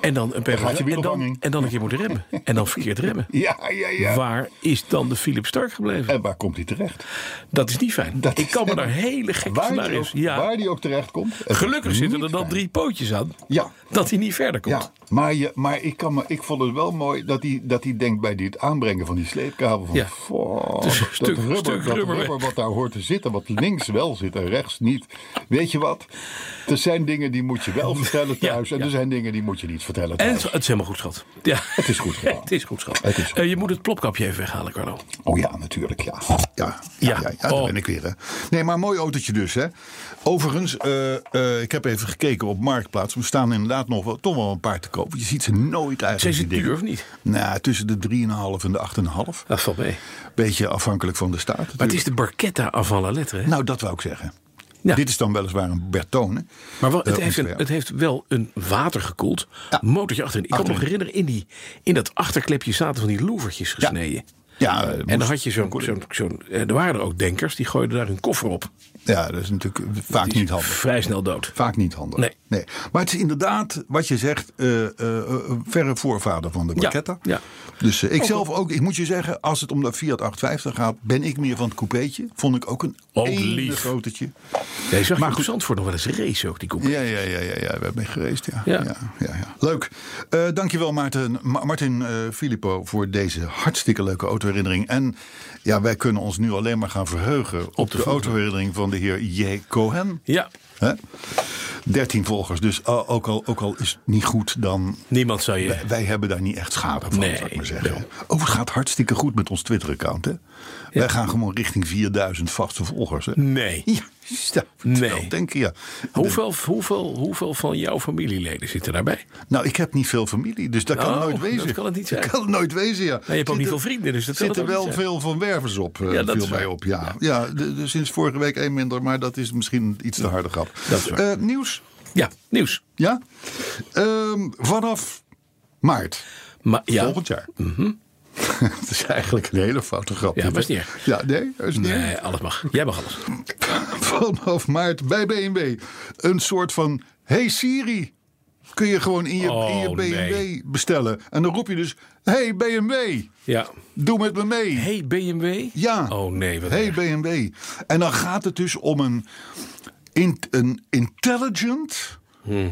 [SPEAKER 2] En dan een
[SPEAKER 3] gaat je
[SPEAKER 2] en dan,
[SPEAKER 3] wielophanging.
[SPEAKER 2] en dan een keer moeten remmen. En dan verkeerd remmen.
[SPEAKER 3] Ja, ja, <laughs> ja.
[SPEAKER 2] Waar is dan de Philip Stark gebleven?
[SPEAKER 3] En waar komt hij terecht?
[SPEAKER 2] Dat is niet fijn.
[SPEAKER 3] Dat
[SPEAKER 2] Ik
[SPEAKER 3] is-
[SPEAKER 2] kan me daar hele gekke
[SPEAKER 3] Waar die, ook,
[SPEAKER 2] scenario's... Ja.
[SPEAKER 3] waar die ook terecht komt. het is
[SPEAKER 2] Gelukkig zitten
[SPEAKER 3] niet
[SPEAKER 2] er dan
[SPEAKER 3] fijn.
[SPEAKER 2] drie pootjes aan.
[SPEAKER 3] Ja.
[SPEAKER 2] Dat hij niet verder komt.
[SPEAKER 3] Ja, maar, je, maar, ik, kan me, ik vond het wel mooi dat hij, dat hij denkt bij dit aanbrengen van die sleepkabel. Van,
[SPEAKER 2] Ja.
[SPEAKER 3] "Fuck,
[SPEAKER 2] Het is een
[SPEAKER 3] dat
[SPEAKER 2] stuk-
[SPEAKER 3] rubber,
[SPEAKER 2] stuk
[SPEAKER 3] dat
[SPEAKER 2] rubber weg."
[SPEAKER 3] rubber wat daar hoort te zitten, wat links wel zit en rechts niet. Weet je wat? Er zijn dingen die moet je
[SPEAKER 2] <laughs>
[SPEAKER 3] wel vertellen
[SPEAKER 2] Ja,
[SPEAKER 3] thuis en
[SPEAKER 2] ja.
[SPEAKER 3] er zijn dingen die moet je niet
[SPEAKER 2] En
[SPEAKER 3] vertellen thuis.
[SPEAKER 2] het, het is helemaal goed, schat. Ja.
[SPEAKER 3] <laughs> Het
[SPEAKER 2] <laughs>
[SPEAKER 3] is goed gedaan.
[SPEAKER 2] het is goed, schat.
[SPEAKER 3] Het is goed
[SPEAKER 2] Eh, je moet het plopkapje even weghalen, Carlo.
[SPEAKER 3] Oh ja, natuurlijk, ja. Ja,
[SPEAKER 2] Ja.
[SPEAKER 3] ja, ja, daar
[SPEAKER 2] Oh.
[SPEAKER 3] ben ik weer. Hè. Nee, maar een mooi autootje dus. Hè. Overigens, eh, eh, ik heb even gekeken op Marktplaats. We staan inderdaad nog wel, toch wel een paar te koop. want Je ziet ze nooit eigenlijk.
[SPEAKER 2] Zijn ze
[SPEAKER 3] die dingen.
[SPEAKER 2] duur of niet?
[SPEAKER 3] Nou, tussen de 3,5 en de 8,5.
[SPEAKER 2] Dat valt mee.
[SPEAKER 3] Beetje afhankelijk van de staat.
[SPEAKER 2] Maar het
[SPEAKER 3] natuurlijk.
[SPEAKER 2] is de Barchetta avant la lettre. Hè?
[SPEAKER 3] Nou, dat wou ik zeggen.
[SPEAKER 2] Ja.
[SPEAKER 3] Dit is dan weliswaar een Bertone.
[SPEAKER 2] maar wel, het,
[SPEAKER 3] Eh,
[SPEAKER 2] heeft een,
[SPEAKER 3] ontwerp.
[SPEAKER 2] het heeft wel een watergekoeld
[SPEAKER 3] Ja.
[SPEAKER 2] motortje achterin. Ik kan me nog
[SPEAKER 3] Achterin.
[SPEAKER 2] herinneren, in, die, in dat achterklepje zaten van die loevertjes gesneden.
[SPEAKER 3] Ja, eh,
[SPEAKER 2] En
[SPEAKER 3] moest-
[SPEAKER 2] dan had je zo'n, zo'n, zo'n... eh, Er waren er ook denkers, die gooiden daar hun koffer op.
[SPEAKER 3] ja, dat is natuurlijk vaak niet handig.
[SPEAKER 2] Vrij snel dood.
[SPEAKER 3] Vaak niet handig.
[SPEAKER 2] Nee.
[SPEAKER 3] Maar het is inderdaad, wat je zegt, eh, eh, eh, verre voorvader van de Barchetta.
[SPEAKER 2] ja.
[SPEAKER 3] Dus eh, ik zelf ook, ik moet je zeggen, als het om de Fiat 850 gaat, ben ik meer van het coupeetje. Vond ik ook een
[SPEAKER 2] Ook
[SPEAKER 3] ene
[SPEAKER 2] lief.
[SPEAKER 3] grotetje.
[SPEAKER 2] Nee, zag maar goed, voor nog wel eens race ook, die koepel.
[SPEAKER 3] Ja, ja, ja, ja, ja, we hebben mee gereisd. Ja.
[SPEAKER 2] Ja.
[SPEAKER 3] Ja. Ja, ja, Leuk. Eh dankjewel Maarten, Ma- Martin eh Filippo voor deze hartstikke leuke autoherinnering. En ja, wij kunnen ons nu alleen maar gaan verheugen op, de, autoherinnering van de heer J. Cohen.
[SPEAKER 2] Ja,
[SPEAKER 3] Hè? 13 volgers, dus ah, ook, al, ook al is het niet goed, dan.
[SPEAKER 2] niemand zou je...
[SPEAKER 3] Wij, wij hebben daar niet echt schade van,
[SPEAKER 2] Nee,
[SPEAKER 3] zou ik maar zeggen. Oh, het gaat hartstikke goed met ons Twitter-account, hè? Wij gaan gewoon richting 4000 vaste volgers, hè?
[SPEAKER 2] Nee.
[SPEAKER 3] Ja, ja,
[SPEAKER 2] Nee.
[SPEAKER 3] denk je, ja.
[SPEAKER 2] Hoeveel, hoeveel, hoeveel van jouw familieleden zitten daarbij?
[SPEAKER 3] Nou, ik heb niet veel familie, dus dat kan
[SPEAKER 2] Oh,
[SPEAKER 3] het nooit wezen.
[SPEAKER 2] dat kan het niet zijn.
[SPEAKER 3] Dat kan het nooit wezen, ja.
[SPEAKER 2] je hebt ook niet veel vrienden, dus dat kan het
[SPEAKER 3] zitten
[SPEAKER 2] ook niet
[SPEAKER 3] wel
[SPEAKER 2] zijn.
[SPEAKER 3] veel van wervers op, eh,
[SPEAKER 2] Ja, dat
[SPEAKER 3] viel
[SPEAKER 2] is
[SPEAKER 3] mij
[SPEAKER 2] waar.
[SPEAKER 3] op. Ja, ja. de- de- sinds vorige week één minder, maar dat is misschien iets te harde grap.
[SPEAKER 2] Dat is waar.
[SPEAKER 3] Eh, nieuws,
[SPEAKER 2] Ja, nieuws.
[SPEAKER 3] ja? Ehm, vanaf maart
[SPEAKER 2] Maar, ja, Mhm.
[SPEAKER 3] volgend jaar <laughs> het is eigenlijk een hele foute grap.
[SPEAKER 2] Ja,
[SPEAKER 3] dit,
[SPEAKER 2] was
[SPEAKER 3] hè?
[SPEAKER 2] niet erg.
[SPEAKER 3] Ja, nee, dat is niet erg.
[SPEAKER 2] Nee, alles mag. Jij mag alles.
[SPEAKER 3] <laughs> Van half maart bij BMW. Een soort van, hey Siri, kun je gewoon in je, in je
[SPEAKER 2] Oh,
[SPEAKER 3] BMW
[SPEAKER 2] nee.
[SPEAKER 3] bestellen. En dan roep je dus, hey BMW,
[SPEAKER 2] Ja.
[SPEAKER 3] doe met me mee.
[SPEAKER 2] Hey BMW?
[SPEAKER 3] Ja.
[SPEAKER 2] Oh nee, wat
[SPEAKER 3] Hey
[SPEAKER 2] erg.
[SPEAKER 3] BMW. En dan gaat het dus om een, in- een intelligent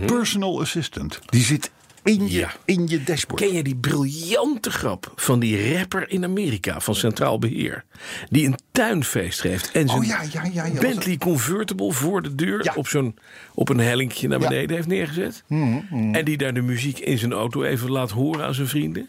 [SPEAKER 3] personal assistant. Die zit in je,
[SPEAKER 2] Mhm. Ja.
[SPEAKER 3] in je dashboard.
[SPEAKER 2] Ken je die briljante grap van die rapper in Amerika van Centraal Beheer? Die een tuinfeest geeft en zijn
[SPEAKER 3] Oh, ja, ja, ja, ja.
[SPEAKER 2] Bentley Convertible voor de deur
[SPEAKER 3] Ja.
[SPEAKER 2] op, zo'n, op een hellinkje naar
[SPEAKER 3] Ja. Mm,
[SPEAKER 2] beneden heeft neergezet. En die daar de muziek in zijn auto even laat horen aan zijn vrienden.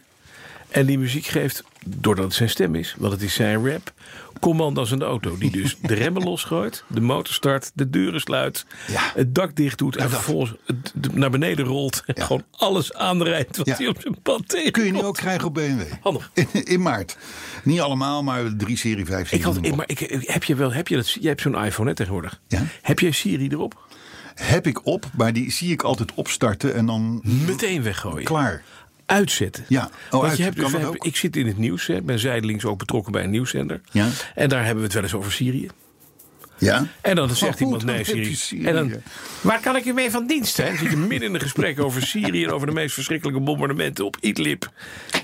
[SPEAKER 2] En die muziek geeft, doordat het zijn stem is, want het is zijn rap, commando's aan de auto. Die dus de
[SPEAKER 3] <laughs>
[SPEAKER 2] remmen losgooit, de motor start, de deuren sluit,
[SPEAKER 3] Ja.
[SPEAKER 2] het dak dicht doet en vervolgens het- de- naar beneden rolt. En gewoon alles aanrijdt wat
[SPEAKER 3] Ja.
[SPEAKER 2] hij op zijn pad tegenkomt.
[SPEAKER 3] Kun je nu ook krijgen op BMW.
[SPEAKER 2] Handig.
[SPEAKER 3] In, <laughs> in maart. Niet allemaal, maar drie serie, vijf serie.
[SPEAKER 2] Ik had,
[SPEAKER 3] noem
[SPEAKER 2] ik-
[SPEAKER 3] maar
[SPEAKER 2] maar ik, ik- heb je wel, heb je dat, jij hebt zo'n iPhone hè, tegenwoordig.
[SPEAKER 3] Ja.
[SPEAKER 2] Heb jij Siri erop?
[SPEAKER 3] op. Heb ik op, maar die zie ik altijd opstarten en dan
[SPEAKER 2] Meteen weggooien.
[SPEAKER 3] klaar.
[SPEAKER 2] Uitzetten.
[SPEAKER 3] Ja. Oh,
[SPEAKER 2] Want
[SPEAKER 3] uit.
[SPEAKER 2] je hebt
[SPEAKER 3] Kan
[SPEAKER 2] dus, we
[SPEAKER 3] dat
[SPEAKER 2] hebben-
[SPEAKER 3] ook?
[SPEAKER 2] ik zit in het nieuws, hè, ben zijdelings ook betrokken bij een nieuwszender.
[SPEAKER 3] Ja.
[SPEAKER 2] En daar hebben we het wel eens over Syrië.
[SPEAKER 3] Ja?
[SPEAKER 2] En dan zegt
[SPEAKER 3] Oh, goed,
[SPEAKER 2] iemand,
[SPEAKER 3] dan
[SPEAKER 2] nee,
[SPEAKER 3] heb
[SPEAKER 2] Syrië.
[SPEAKER 3] je Syrië.
[SPEAKER 2] En dan, waar kan ik u mee van dienst zijn? Dan zit je <laughs> midden in een gesprek over Syrië... en over de meest verschrikkelijke bombardementen op Idlib.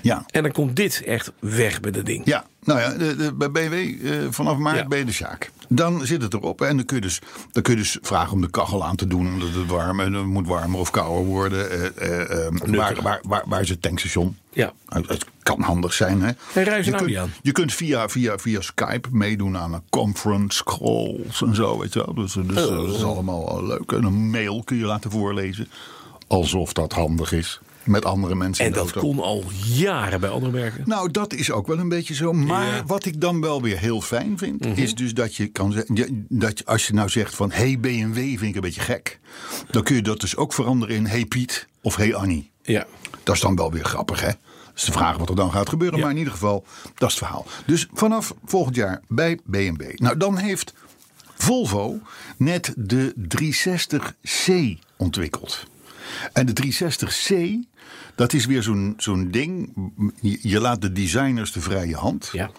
[SPEAKER 3] Ja.
[SPEAKER 2] En dan komt dit echt weg bij dat ding.
[SPEAKER 3] Ja, nou ja, de, de- bij BW eh, vanaf maart
[SPEAKER 2] Ja.
[SPEAKER 3] ben je de Sjaak. Dan zit het erop en dan kun, je dus, dan kun je dus vragen om de kachel aan te doen... omdat het warm en het moet warmer of kouder worden. eh, eh, eh, waar, waar, waar, waar is het tankstation?
[SPEAKER 2] Ja.
[SPEAKER 3] Het- Het kan handig zijn, hè?
[SPEAKER 2] Hey, Ruijs en
[SPEAKER 3] je, kunt,
[SPEAKER 2] Audi aan.
[SPEAKER 3] je kunt via, via, via Skype meedoen aan een conference calls en zo, weet je wel. Dus, dus
[SPEAKER 2] Oh.
[SPEAKER 3] dat is allemaal wel leuk. En een mail kun je laten voorlezen. Alsof dat handig is. Met andere mensen
[SPEAKER 2] En
[SPEAKER 3] in de
[SPEAKER 2] dat
[SPEAKER 3] auto.
[SPEAKER 2] kon al jaren bij andere merken.
[SPEAKER 3] Nou, dat is ook wel een beetje zo. Maar
[SPEAKER 2] Ja.
[SPEAKER 3] wat ik dan wel weer heel fijn vind, is dus dat je kan zeggen. je- Dat je, als je nou zegt van hey BMW vind ik een beetje gek. Dan kun je dat dus ook veranderen in hey Piet of hey Annie.
[SPEAKER 2] Ja.
[SPEAKER 3] Dat is dan wel weer grappig, hè? Dat is de vraag wat er dan gaat gebeuren. Maar in ieder geval, dat is het verhaal. Dus vanaf volgend jaar bij BMW. Nou, dan heeft Volvo net de 360C ontwikkeld. En de 360C, dat is weer zo'n zo'n ding. Je, je laat de designers de vrije hand.
[SPEAKER 2] Ja.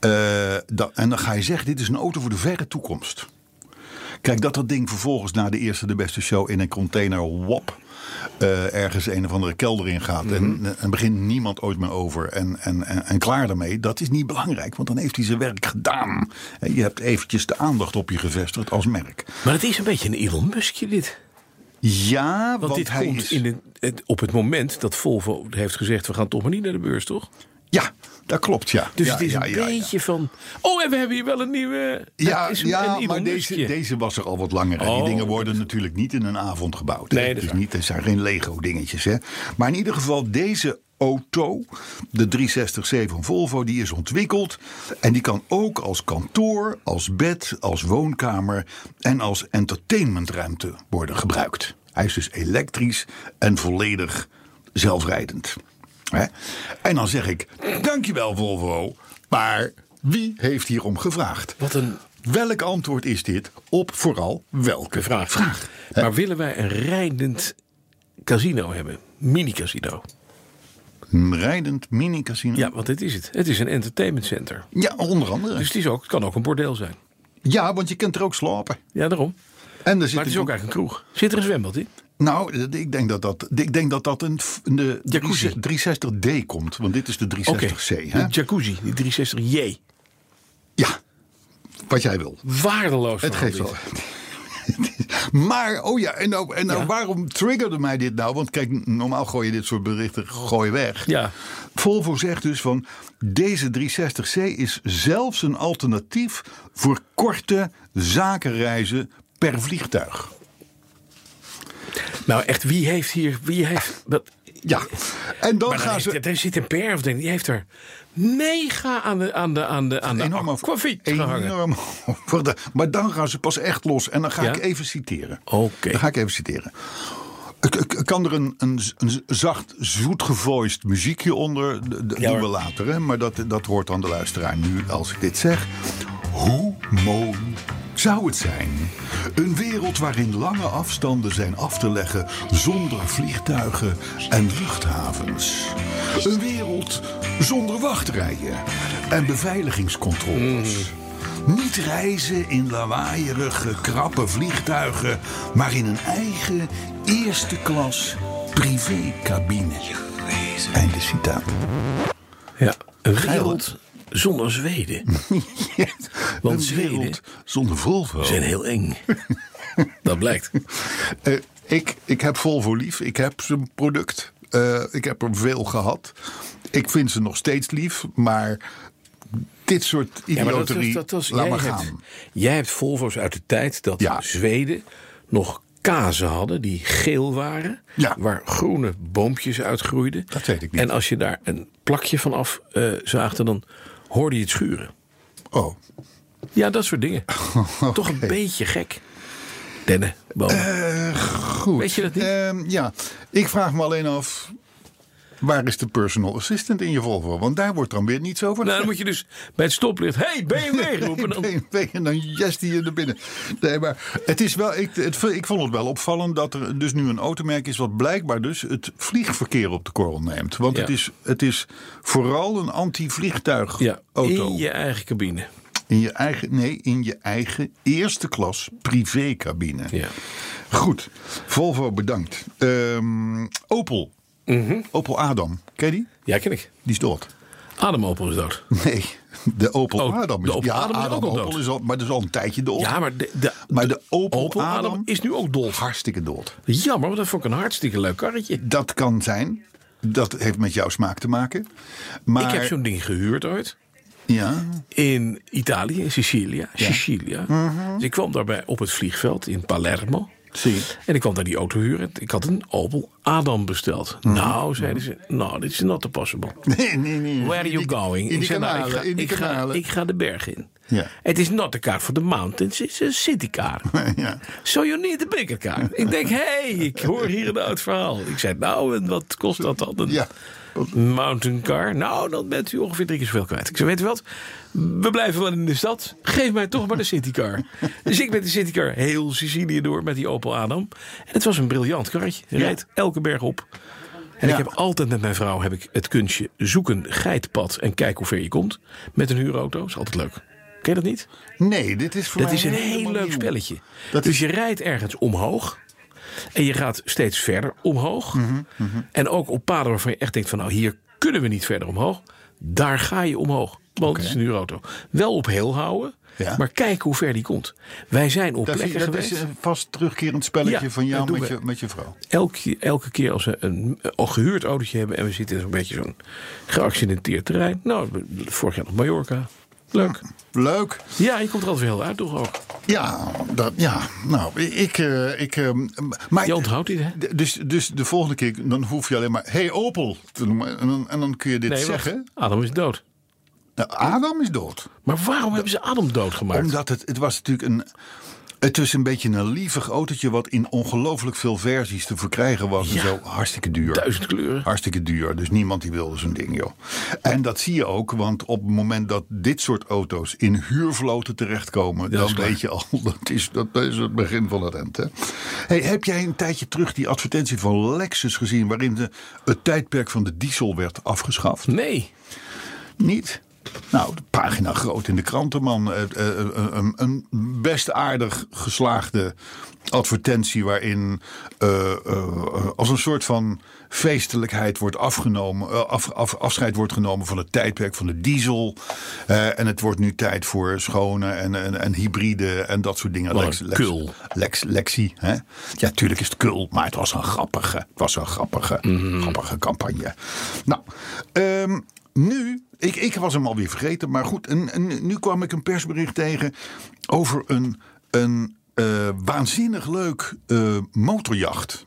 [SPEAKER 3] Eh, da- en dan ga je zeggen, dit is een auto voor de verre toekomst. Kijk, dat dat ding vervolgens na de eerste de beste show in een container wop eh, ergens een of andere kelder in gaat.
[SPEAKER 2] Mhm.
[SPEAKER 3] en, en begint niemand ooit meer over en, en, en, en klaar daarmee. Dat is niet belangrijk, want dan heeft hij zijn werk gedaan. En je hebt eventjes de aandacht op je gevestigd als merk.
[SPEAKER 2] Maar het is een beetje een Elon Muskje dit.
[SPEAKER 3] Ja, want,
[SPEAKER 2] Want, dit
[SPEAKER 3] hij
[SPEAKER 2] komt
[SPEAKER 3] is...
[SPEAKER 2] in de- het- op het moment dat Volvo heeft gezegd... we gaan toch maar niet naar de beurs, toch?
[SPEAKER 3] Ja, dat klopt, ja.
[SPEAKER 2] Dus
[SPEAKER 3] Ja,
[SPEAKER 2] het is
[SPEAKER 3] ja,
[SPEAKER 2] een
[SPEAKER 3] ja, ja.
[SPEAKER 2] beetje van... oh, en we hebben hier wel een nieuwe...
[SPEAKER 3] Ja,
[SPEAKER 2] het is een-
[SPEAKER 3] ja
[SPEAKER 2] een
[SPEAKER 3] maar
[SPEAKER 2] Elon
[SPEAKER 3] deze,
[SPEAKER 2] Muskje.
[SPEAKER 3] deze was er al wat langer. En
[SPEAKER 2] Oh,
[SPEAKER 3] die dingen worden natuurlijk niet in een avond gebouwd. hè.
[SPEAKER 2] Nee, dat is
[SPEAKER 3] dus
[SPEAKER 2] waar.
[SPEAKER 3] niet, het zijn geen Lego-dingetjes. hè. Maar in ieder geval, deze auto, de 360C van Volvo, die is ontwikkeld. En die kan ook als kantoor, als bed, als woonkamer en als entertainmentruimte worden gebruikt. Hij is dus elektrisch en volledig zelfrijdend. Hè? En dan zeg ik, dankjewel Volvo, maar wie heeft hierom gevraagd?
[SPEAKER 2] Wat een
[SPEAKER 3] Welk antwoord is dit op vooral welke
[SPEAKER 2] vraag.
[SPEAKER 3] Hè?
[SPEAKER 2] Maar willen wij een rijdend casino hebben? Mini-casino.
[SPEAKER 3] Een rijdend mini-casino.
[SPEAKER 2] Ja, want dit is het. Het is een entertainment center.
[SPEAKER 3] Ja, onder andere.
[SPEAKER 2] Dus het, is ook, het kan ook een bordeel zijn.
[SPEAKER 3] ja, want je kunt er ook slapen.
[SPEAKER 2] Ja, daarom.
[SPEAKER 3] En er zit
[SPEAKER 2] Maar het is ook eigenlijk een kroeg. Zit er een zwembad in?
[SPEAKER 3] Nou, ik denk dat dat, ik denk dat, dat een, f- de
[SPEAKER 2] Jacuzzi.
[SPEAKER 3] 360D komt. Want dit is de 360C.
[SPEAKER 2] Oké. De
[SPEAKER 3] hè?
[SPEAKER 2] jacuzzi, die 360J.
[SPEAKER 3] Ja, wat jij wil.
[SPEAKER 2] Waardeloos.
[SPEAKER 3] Het
[SPEAKER 2] verhaal
[SPEAKER 3] geeft wel.
[SPEAKER 2] dit.
[SPEAKER 3] <laughs> Maar, oh ja, en, nou, en nou,
[SPEAKER 2] Ja.
[SPEAKER 3] waarom triggerde mij dit nou? Want kijk, normaal gooi je dit soort berichten gooi weg.
[SPEAKER 2] Ja.
[SPEAKER 3] Volvo zegt dus van, deze 360C is zelfs een alternatief... voor korte zakenreizen per vliegtuig.
[SPEAKER 2] Nou, echt, wie heeft hier... Wie heeft, wat,
[SPEAKER 3] Ja, en dan
[SPEAKER 2] Maar dan
[SPEAKER 3] gaan
[SPEAKER 2] heeft-
[SPEAKER 3] ze...
[SPEAKER 2] er zit een PR-afdeling, die heeft er mega aan de, aan de, aan de, aan de
[SPEAKER 3] Enorm over,
[SPEAKER 2] akkefiet gehangen.
[SPEAKER 3] <laughs> enorm over de- Maar dan gaan ze pas echt los. En dan ga
[SPEAKER 2] Ja?
[SPEAKER 3] ik even citeren.
[SPEAKER 2] Oké.
[SPEAKER 3] Dan ga ik even citeren. Ik- ik- Kan er een, een, z- een z- zacht, zoetgevoiced muziekje onder? D- d-
[SPEAKER 2] Ja,
[SPEAKER 3] doen we
[SPEAKER 2] hoor.
[SPEAKER 3] later, hè? maar dat, dat hoort aan de luisteraar nu als ik dit zeg. Hoe mooi Zou het zijn een wereld waarin lange afstanden zijn af te leggen zonder vliegtuigen en luchthavens? Een wereld zonder wachtrijen en beveiligingscontroles? Niet reizen in lawaaierige, krappe vliegtuigen, maar in een eigen eerste klas privécabine. Einde citaat.
[SPEAKER 2] Ja, een wereld zonder Zweden.
[SPEAKER 3] Oh. <laughs>
[SPEAKER 2] Want
[SPEAKER 3] een
[SPEAKER 2] Zweden-
[SPEAKER 3] wereld zonder Volvo.
[SPEAKER 2] zijn heel
[SPEAKER 3] <laughs>
[SPEAKER 2] eng. Dat blijkt.
[SPEAKER 3] Eh, ik, ik heb Volvo lief. Ik heb zijn product. Eh, ik heb er veel gehad. Ik vind ze nog steeds lief. Maar dit soort
[SPEAKER 2] Ja, maar dat was-
[SPEAKER 3] idioterie,
[SPEAKER 2] dat was-
[SPEAKER 3] laat
[SPEAKER 2] jij,
[SPEAKER 3] maar
[SPEAKER 2] hebt,
[SPEAKER 3] gaan.
[SPEAKER 2] jij hebt Volvo's uit de tijd dat
[SPEAKER 3] Ja.
[SPEAKER 2] Zweden nog kazen hadden die geel waren.
[SPEAKER 3] Ja.
[SPEAKER 2] Waar groene boompjes uitgroeiden.
[SPEAKER 3] Dat weet ik niet.
[SPEAKER 2] En als je daar een plakje van af eh, zaagde, dan hoorde je het schuren.
[SPEAKER 3] Oh,
[SPEAKER 2] Ja, dat soort
[SPEAKER 3] <laughs>
[SPEAKER 2] dingen. Toch een
[SPEAKER 3] Oké. Eh,
[SPEAKER 2] beetje gek. Dennen, bomen.
[SPEAKER 3] goed.
[SPEAKER 2] Weet je dat niet?
[SPEAKER 3] Ehm, ja, ik vraag me alleen af... Waar is de personal assistant in je Volvo? Want daar wordt dan weer niets over
[SPEAKER 2] nou, dan moet je dus bij het stoplicht... hey,
[SPEAKER 3] <laughs>
[SPEAKER 2] BMW roepen. Dan,
[SPEAKER 3] BMW en dan jest hij je naar binnen. Nee, maar het is wel, ik, het, ik vond het wel opvallend dat er dus nu een automerk is... wat blijkbaar dus het vliegverkeer op de korrel neemt. Want
[SPEAKER 2] Ja.
[SPEAKER 3] het, is, het is vooral een
[SPEAKER 2] ja,
[SPEAKER 3] anti-vliegtuigauto.
[SPEAKER 2] in je eigen cabine.
[SPEAKER 3] In je eigen, nee, in je eigen eerste klas privécabine.
[SPEAKER 2] Ja.
[SPEAKER 3] Goed, Volvo bedankt. Ehm, Opel.
[SPEAKER 2] Mhm.
[SPEAKER 3] Opel Adam, ken je die?
[SPEAKER 2] Ja, ken ik.
[SPEAKER 3] Die is dood.
[SPEAKER 2] Adam Opel is dood.
[SPEAKER 3] Nee, de Opel
[SPEAKER 2] Oh,
[SPEAKER 3] Adam is,
[SPEAKER 2] de Opel
[SPEAKER 3] ja,
[SPEAKER 2] Adam is ook al
[SPEAKER 3] Opel
[SPEAKER 2] dood.
[SPEAKER 3] Is al, maar dat is al een tijdje dood.
[SPEAKER 2] Ja, maar de, de,
[SPEAKER 3] Maar de Opel,
[SPEAKER 2] Adam,
[SPEAKER 3] Adam
[SPEAKER 2] is nu ook dood.
[SPEAKER 3] Hartstikke dood.
[SPEAKER 2] Jammer, want dat vond ik een hartstikke leuk karretje.
[SPEAKER 3] Dat kan zijn. Dat heeft met jouw smaak te maken. Maar,
[SPEAKER 2] Ik heb zo'n ding gehuurd ooit.
[SPEAKER 3] Ja, <laughs>
[SPEAKER 2] In Italië, in Sicilia. Sicilia. Dus ik kwam daarbij op het vliegveld in Palermo.
[SPEAKER 3] Mhm. zie.
[SPEAKER 2] En ik kwam daar die auto huren. Ik had een Opel Adam besteld.
[SPEAKER 3] Mhm.
[SPEAKER 2] Nou, zeiden ze, nou, dit is not possible.
[SPEAKER 3] Nee, nee, nee.
[SPEAKER 2] Where are you
[SPEAKER 3] In die-
[SPEAKER 2] going?
[SPEAKER 3] In
[SPEAKER 2] Ik
[SPEAKER 3] die
[SPEAKER 2] zei, nou,
[SPEAKER 3] kanalen.
[SPEAKER 2] ik ga,
[SPEAKER 3] in die
[SPEAKER 2] ik, ga,
[SPEAKER 3] kanalen.
[SPEAKER 2] ik ga de berg in.
[SPEAKER 3] Ja.
[SPEAKER 2] Het is not a car for the mountains, it's a city car.
[SPEAKER 3] <laughs> ja.
[SPEAKER 2] So you need a bigger car. Ik denk, hé, hey, ik hoor hier een oud verhaal. Ik zei, nou, en wat kost dat dan? Een
[SPEAKER 3] Ja.
[SPEAKER 2] mountain car? Nou, dan bent u ongeveer drie keer zoveel kwijt. Ik zei, weet u wat? We blijven wel in de stad. Geef mij toch maar de citycar.
[SPEAKER 3] <laughs>
[SPEAKER 2] dus ik met de citycar heel Sicilië door met die Opel Adam. En het was een briljant karretje. Je
[SPEAKER 3] Ja.
[SPEAKER 2] reed elke berg op. En
[SPEAKER 3] Ja.
[SPEAKER 2] ik heb altijd met mijn vrouw heb ik het kunstje zoek een geitpad en kijk hoe ver je komt. Met een huurauto. is altijd leuk. Ken je dat niet?
[SPEAKER 3] Nee, dit is voor
[SPEAKER 2] Dat
[SPEAKER 3] mij
[SPEAKER 2] is een heel
[SPEAKER 3] helemaal
[SPEAKER 2] leuk
[SPEAKER 3] nieuw.
[SPEAKER 2] spelletje.
[SPEAKER 3] Dat
[SPEAKER 2] dus
[SPEAKER 3] is-
[SPEAKER 2] je rijdt ergens omhoog. En je gaat steeds verder omhoog.
[SPEAKER 3] Mhm,
[SPEAKER 2] En ook op paden waarvan je echt denkt van nou hier kunnen we niet verder omhoog. Daar ga je omhoog. Want het is een huurauto. Wel op heel houden.
[SPEAKER 3] Ja.
[SPEAKER 2] Maar kijk hoe ver die komt. Wij zijn op
[SPEAKER 3] Dat, is-
[SPEAKER 2] plekken
[SPEAKER 3] dat
[SPEAKER 2] geweest.
[SPEAKER 3] is een vast terugkerend spelletje
[SPEAKER 2] Ja,
[SPEAKER 3] van jou
[SPEAKER 2] dat doen
[SPEAKER 3] met
[SPEAKER 2] we.
[SPEAKER 3] je, met je vrouw.
[SPEAKER 2] elke, elke keer als we een, een gehuurd autootje hebben en we zitten in zo'n beetje zo'n geaccidenteerd terrein. Nou, vorig jaar nog Mallorca. Leuk.
[SPEAKER 3] Leuk.
[SPEAKER 2] Ja, je komt er altijd weer heel uit, toch ook?
[SPEAKER 3] Ja, dat, ja. nou, ik... eh, ik eh, maar,
[SPEAKER 2] Je onthoudt dit, hè?
[SPEAKER 3] D- Dus, dus de volgende keer dan hoef je alleen maar... Hey Opel te noemen. En dan, en dan kun je dit
[SPEAKER 2] Nee, wacht.
[SPEAKER 3] zeggen.
[SPEAKER 2] Adam is dood.
[SPEAKER 3] Nou, Adam is dood.
[SPEAKER 2] Maar waarom hebben ze Adam doodgemaakt?
[SPEAKER 3] Omdat het, het was natuurlijk een... Het was een beetje een lievig autootje wat in ongelooflijk veel versies te verkrijgen was.
[SPEAKER 2] Ja.
[SPEAKER 3] En zo hartstikke duur.
[SPEAKER 2] Duizend kleuren.
[SPEAKER 3] Hartstikke duur. Dus niemand die wilde zo'n ding, joh. En dat zie je ook, want op het moment dat dit soort auto's in huurvloten terechtkomen,
[SPEAKER 2] Dat is
[SPEAKER 3] dan
[SPEAKER 2] waar.
[SPEAKER 3] weet je al, <laughs> dat is, dat is het begin van het end. Hè? Hey, heb jij een tijdje terug die advertentie van Lexus gezien, waarin de, het tijdperk van de diesel werd afgeschaft?
[SPEAKER 2] Nee.
[SPEAKER 3] Niet? Nou, de pagina groot in de kranten, man. Eh, eh, eh, een- een best aardig geslaagde advertentie waarin eh, eh, eh, als een soort van feestelijkheid wordt afgenomen, eh, af, af- afscheid wordt genomen van het tijdperk van de diesel. Eh, en het wordt nu tijd voor schone en, en, en hybride en dat soort dingen.
[SPEAKER 2] Wat een kul.
[SPEAKER 3] Lex, Lexi. Hè? Ja, tuurlijk is het kul, maar het was een grappige, het was een grappige,
[SPEAKER 2] Mhm.
[SPEAKER 3] grappige campagne. Nou, ehm, nu, ik, ik was hem alweer vergeten, maar goed. En, en nu kwam ik een persbericht tegen over een, een eh, waanzinnig leuk eh, motorjacht.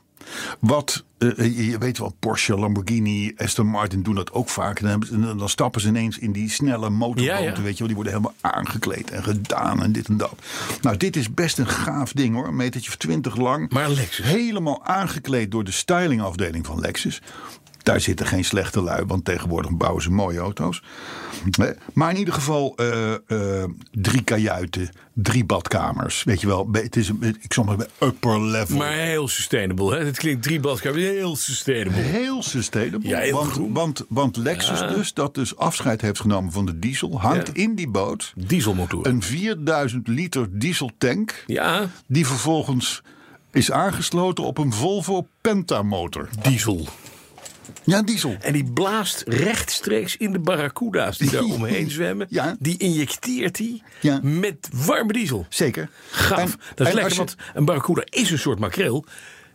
[SPEAKER 3] Wat, eh, je- je weet wel, Porsche, Lamborghini, Aston Martin doen dat ook vaak. Dan, hebben ze- dan stappen ze ineens in die snelle motorboten,
[SPEAKER 2] Ja, ja.
[SPEAKER 3] weet je wel. Die worden helemaal aangekleed en gedaan en dit en dat. Nou, dit is best een gaaf ding hoor. Een metertje of twintig lang.
[SPEAKER 2] Maar Lexus.
[SPEAKER 3] Helemaal aangekleed door de stylingafdeling van Lexus. Daar zitten geen slechte lui, want tegenwoordig bouwen ze mooie auto's. Eh, Maar in ieder geval eh, eh, drie kajuiten, drie badkamers. Weet je wel, het is, een- ik zal maar zeggen, upper level.
[SPEAKER 2] Maar heel sustainable. Hè? Het klinkt drie badkamers. Heel sustainable.
[SPEAKER 3] Heel sustainable.
[SPEAKER 2] Ja, heel
[SPEAKER 3] want,
[SPEAKER 2] groen.
[SPEAKER 3] Want, want Lexus dus, dat dus afscheid heeft genomen van de diesel, hangt
[SPEAKER 2] Ja.
[SPEAKER 3] in die boot
[SPEAKER 2] Dieselmotor.
[SPEAKER 3] een 4000 liter dieseltank.
[SPEAKER 2] Ja,
[SPEAKER 3] Die vervolgens is aangesloten op een Volvo Pentamotor.
[SPEAKER 2] diesel.
[SPEAKER 3] Ja, diesel.
[SPEAKER 2] En die blaast rechtstreeks in de barracuda's die daar omheen zwemmen.
[SPEAKER 3] Ja.
[SPEAKER 2] Die injecteert hij
[SPEAKER 3] Ja.
[SPEAKER 2] met warme diesel.
[SPEAKER 3] Zeker.
[SPEAKER 2] Gaaf.
[SPEAKER 3] En-
[SPEAKER 2] dat
[SPEAKER 3] en
[SPEAKER 2] is lekker,
[SPEAKER 3] als je-
[SPEAKER 2] want een barracuda is een soort makreel.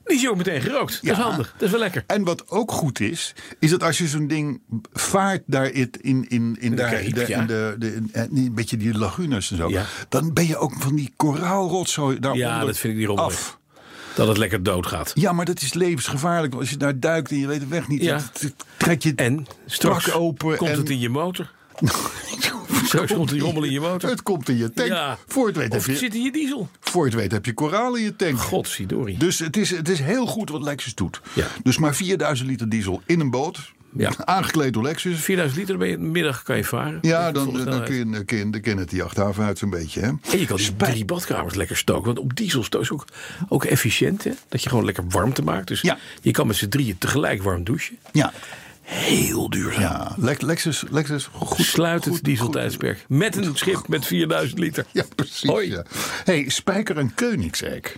[SPEAKER 2] Die is ook meteen gerookt. Dat is
[SPEAKER 3] Ja.
[SPEAKER 2] handig. Dat is wel lekker.
[SPEAKER 3] En wat ook goed is, is dat als je zo'n ding vaart daar in, in, in, in, daar-
[SPEAKER 2] Caribisch,
[SPEAKER 3] de-
[SPEAKER 2] ja.
[SPEAKER 3] in de, de, in- en een beetje die lagunes en zo,
[SPEAKER 2] Ja.
[SPEAKER 3] dan ben je ook van die koraalrotzooi daaronder
[SPEAKER 2] Ja, dat vind ik niet rommelig.
[SPEAKER 3] af.
[SPEAKER 2] Dat het lekker doodgaat.
[SPEAKER 3] Ja, maar dat is levensgevaarlijk. want Als je daar duikt en je weet de weg niet,
[SPEAKER 2] Ja.
[SPEAKER 3] dan t- t- trek je
[SPEAKER 2] En straks
[SPEAKER 3] strak open.
[SPEAKER 2] komt
[SPEAKER 3] en-
[SPEAKER 2] het in je motor. <laughs> Straks komt die rommel in je motor.
[SPEAKER 3] Het komt in je tank.
[SPEAKER 2] Ja.
[SPEAKER 3] Voor, het weet
[SPEAKER 2] Of
[SPEAKER 3] heb
[SPEAKER 2] het
[SPEAKER 3] je,
[SPEAKER 2] zit in je diesel.
[SPEAKER 3] voor het weet heb je koraal in je tank.
[SPEAKER 2] Godsidori.
[SPEAKER 3] Dus het is, het is heel goed wat Lexus doet.
[SPEAKER 2] Ja.
[SPEAKER 3] Dus maar 4000 liter diesel in een boot.
[SPEAKER 2] Ja.
[SPEAKER 3] Aangekleed door Lexus.
[SPEAKER 2] 4000 liter ben je middag kan je varen.
[SPEAKER 3] Ja,
[SPEAKER 2] Met
[SPEAKER 3] dan, eh,
[SPEAKER 2] volle
[SPEAKER 3] dan
[SPEAKER 2] snelheid.
[SPEAKER 3] kun je, Dus dan kun je, dan kun je het die achterhaven uit zo'n beetje. Hè?
[SPEAKER 2] eh, En je kan die drie badkamers lekker stoken. Want op diesel stoot is ook, ook efficiënt. Hè? Dat je gewoon lekker warmte maakt. Dus
[SPEAKER 3] Ja.
[SPEAKER 2] je kan met z'n drieën tegelijk warm douchen.
[SPEAKER 3] Ja,
[SPEAKER 2] Heel duurzaam.
[SPEAKER 3] ja. Le- Lexus, Lexus goed,
[SPEAKER 2] Sluit het
[SPEAKER 3] goed-
[SPEAKER 2] dieseltijdsperk. Met een schip met 4000 liter.
[SPEAKER 3] goed. Ja, precies.
[SPEAKER 2] Hoi.
[SPEAKER 3] Ja. Hey, Spijker en Koenigsegg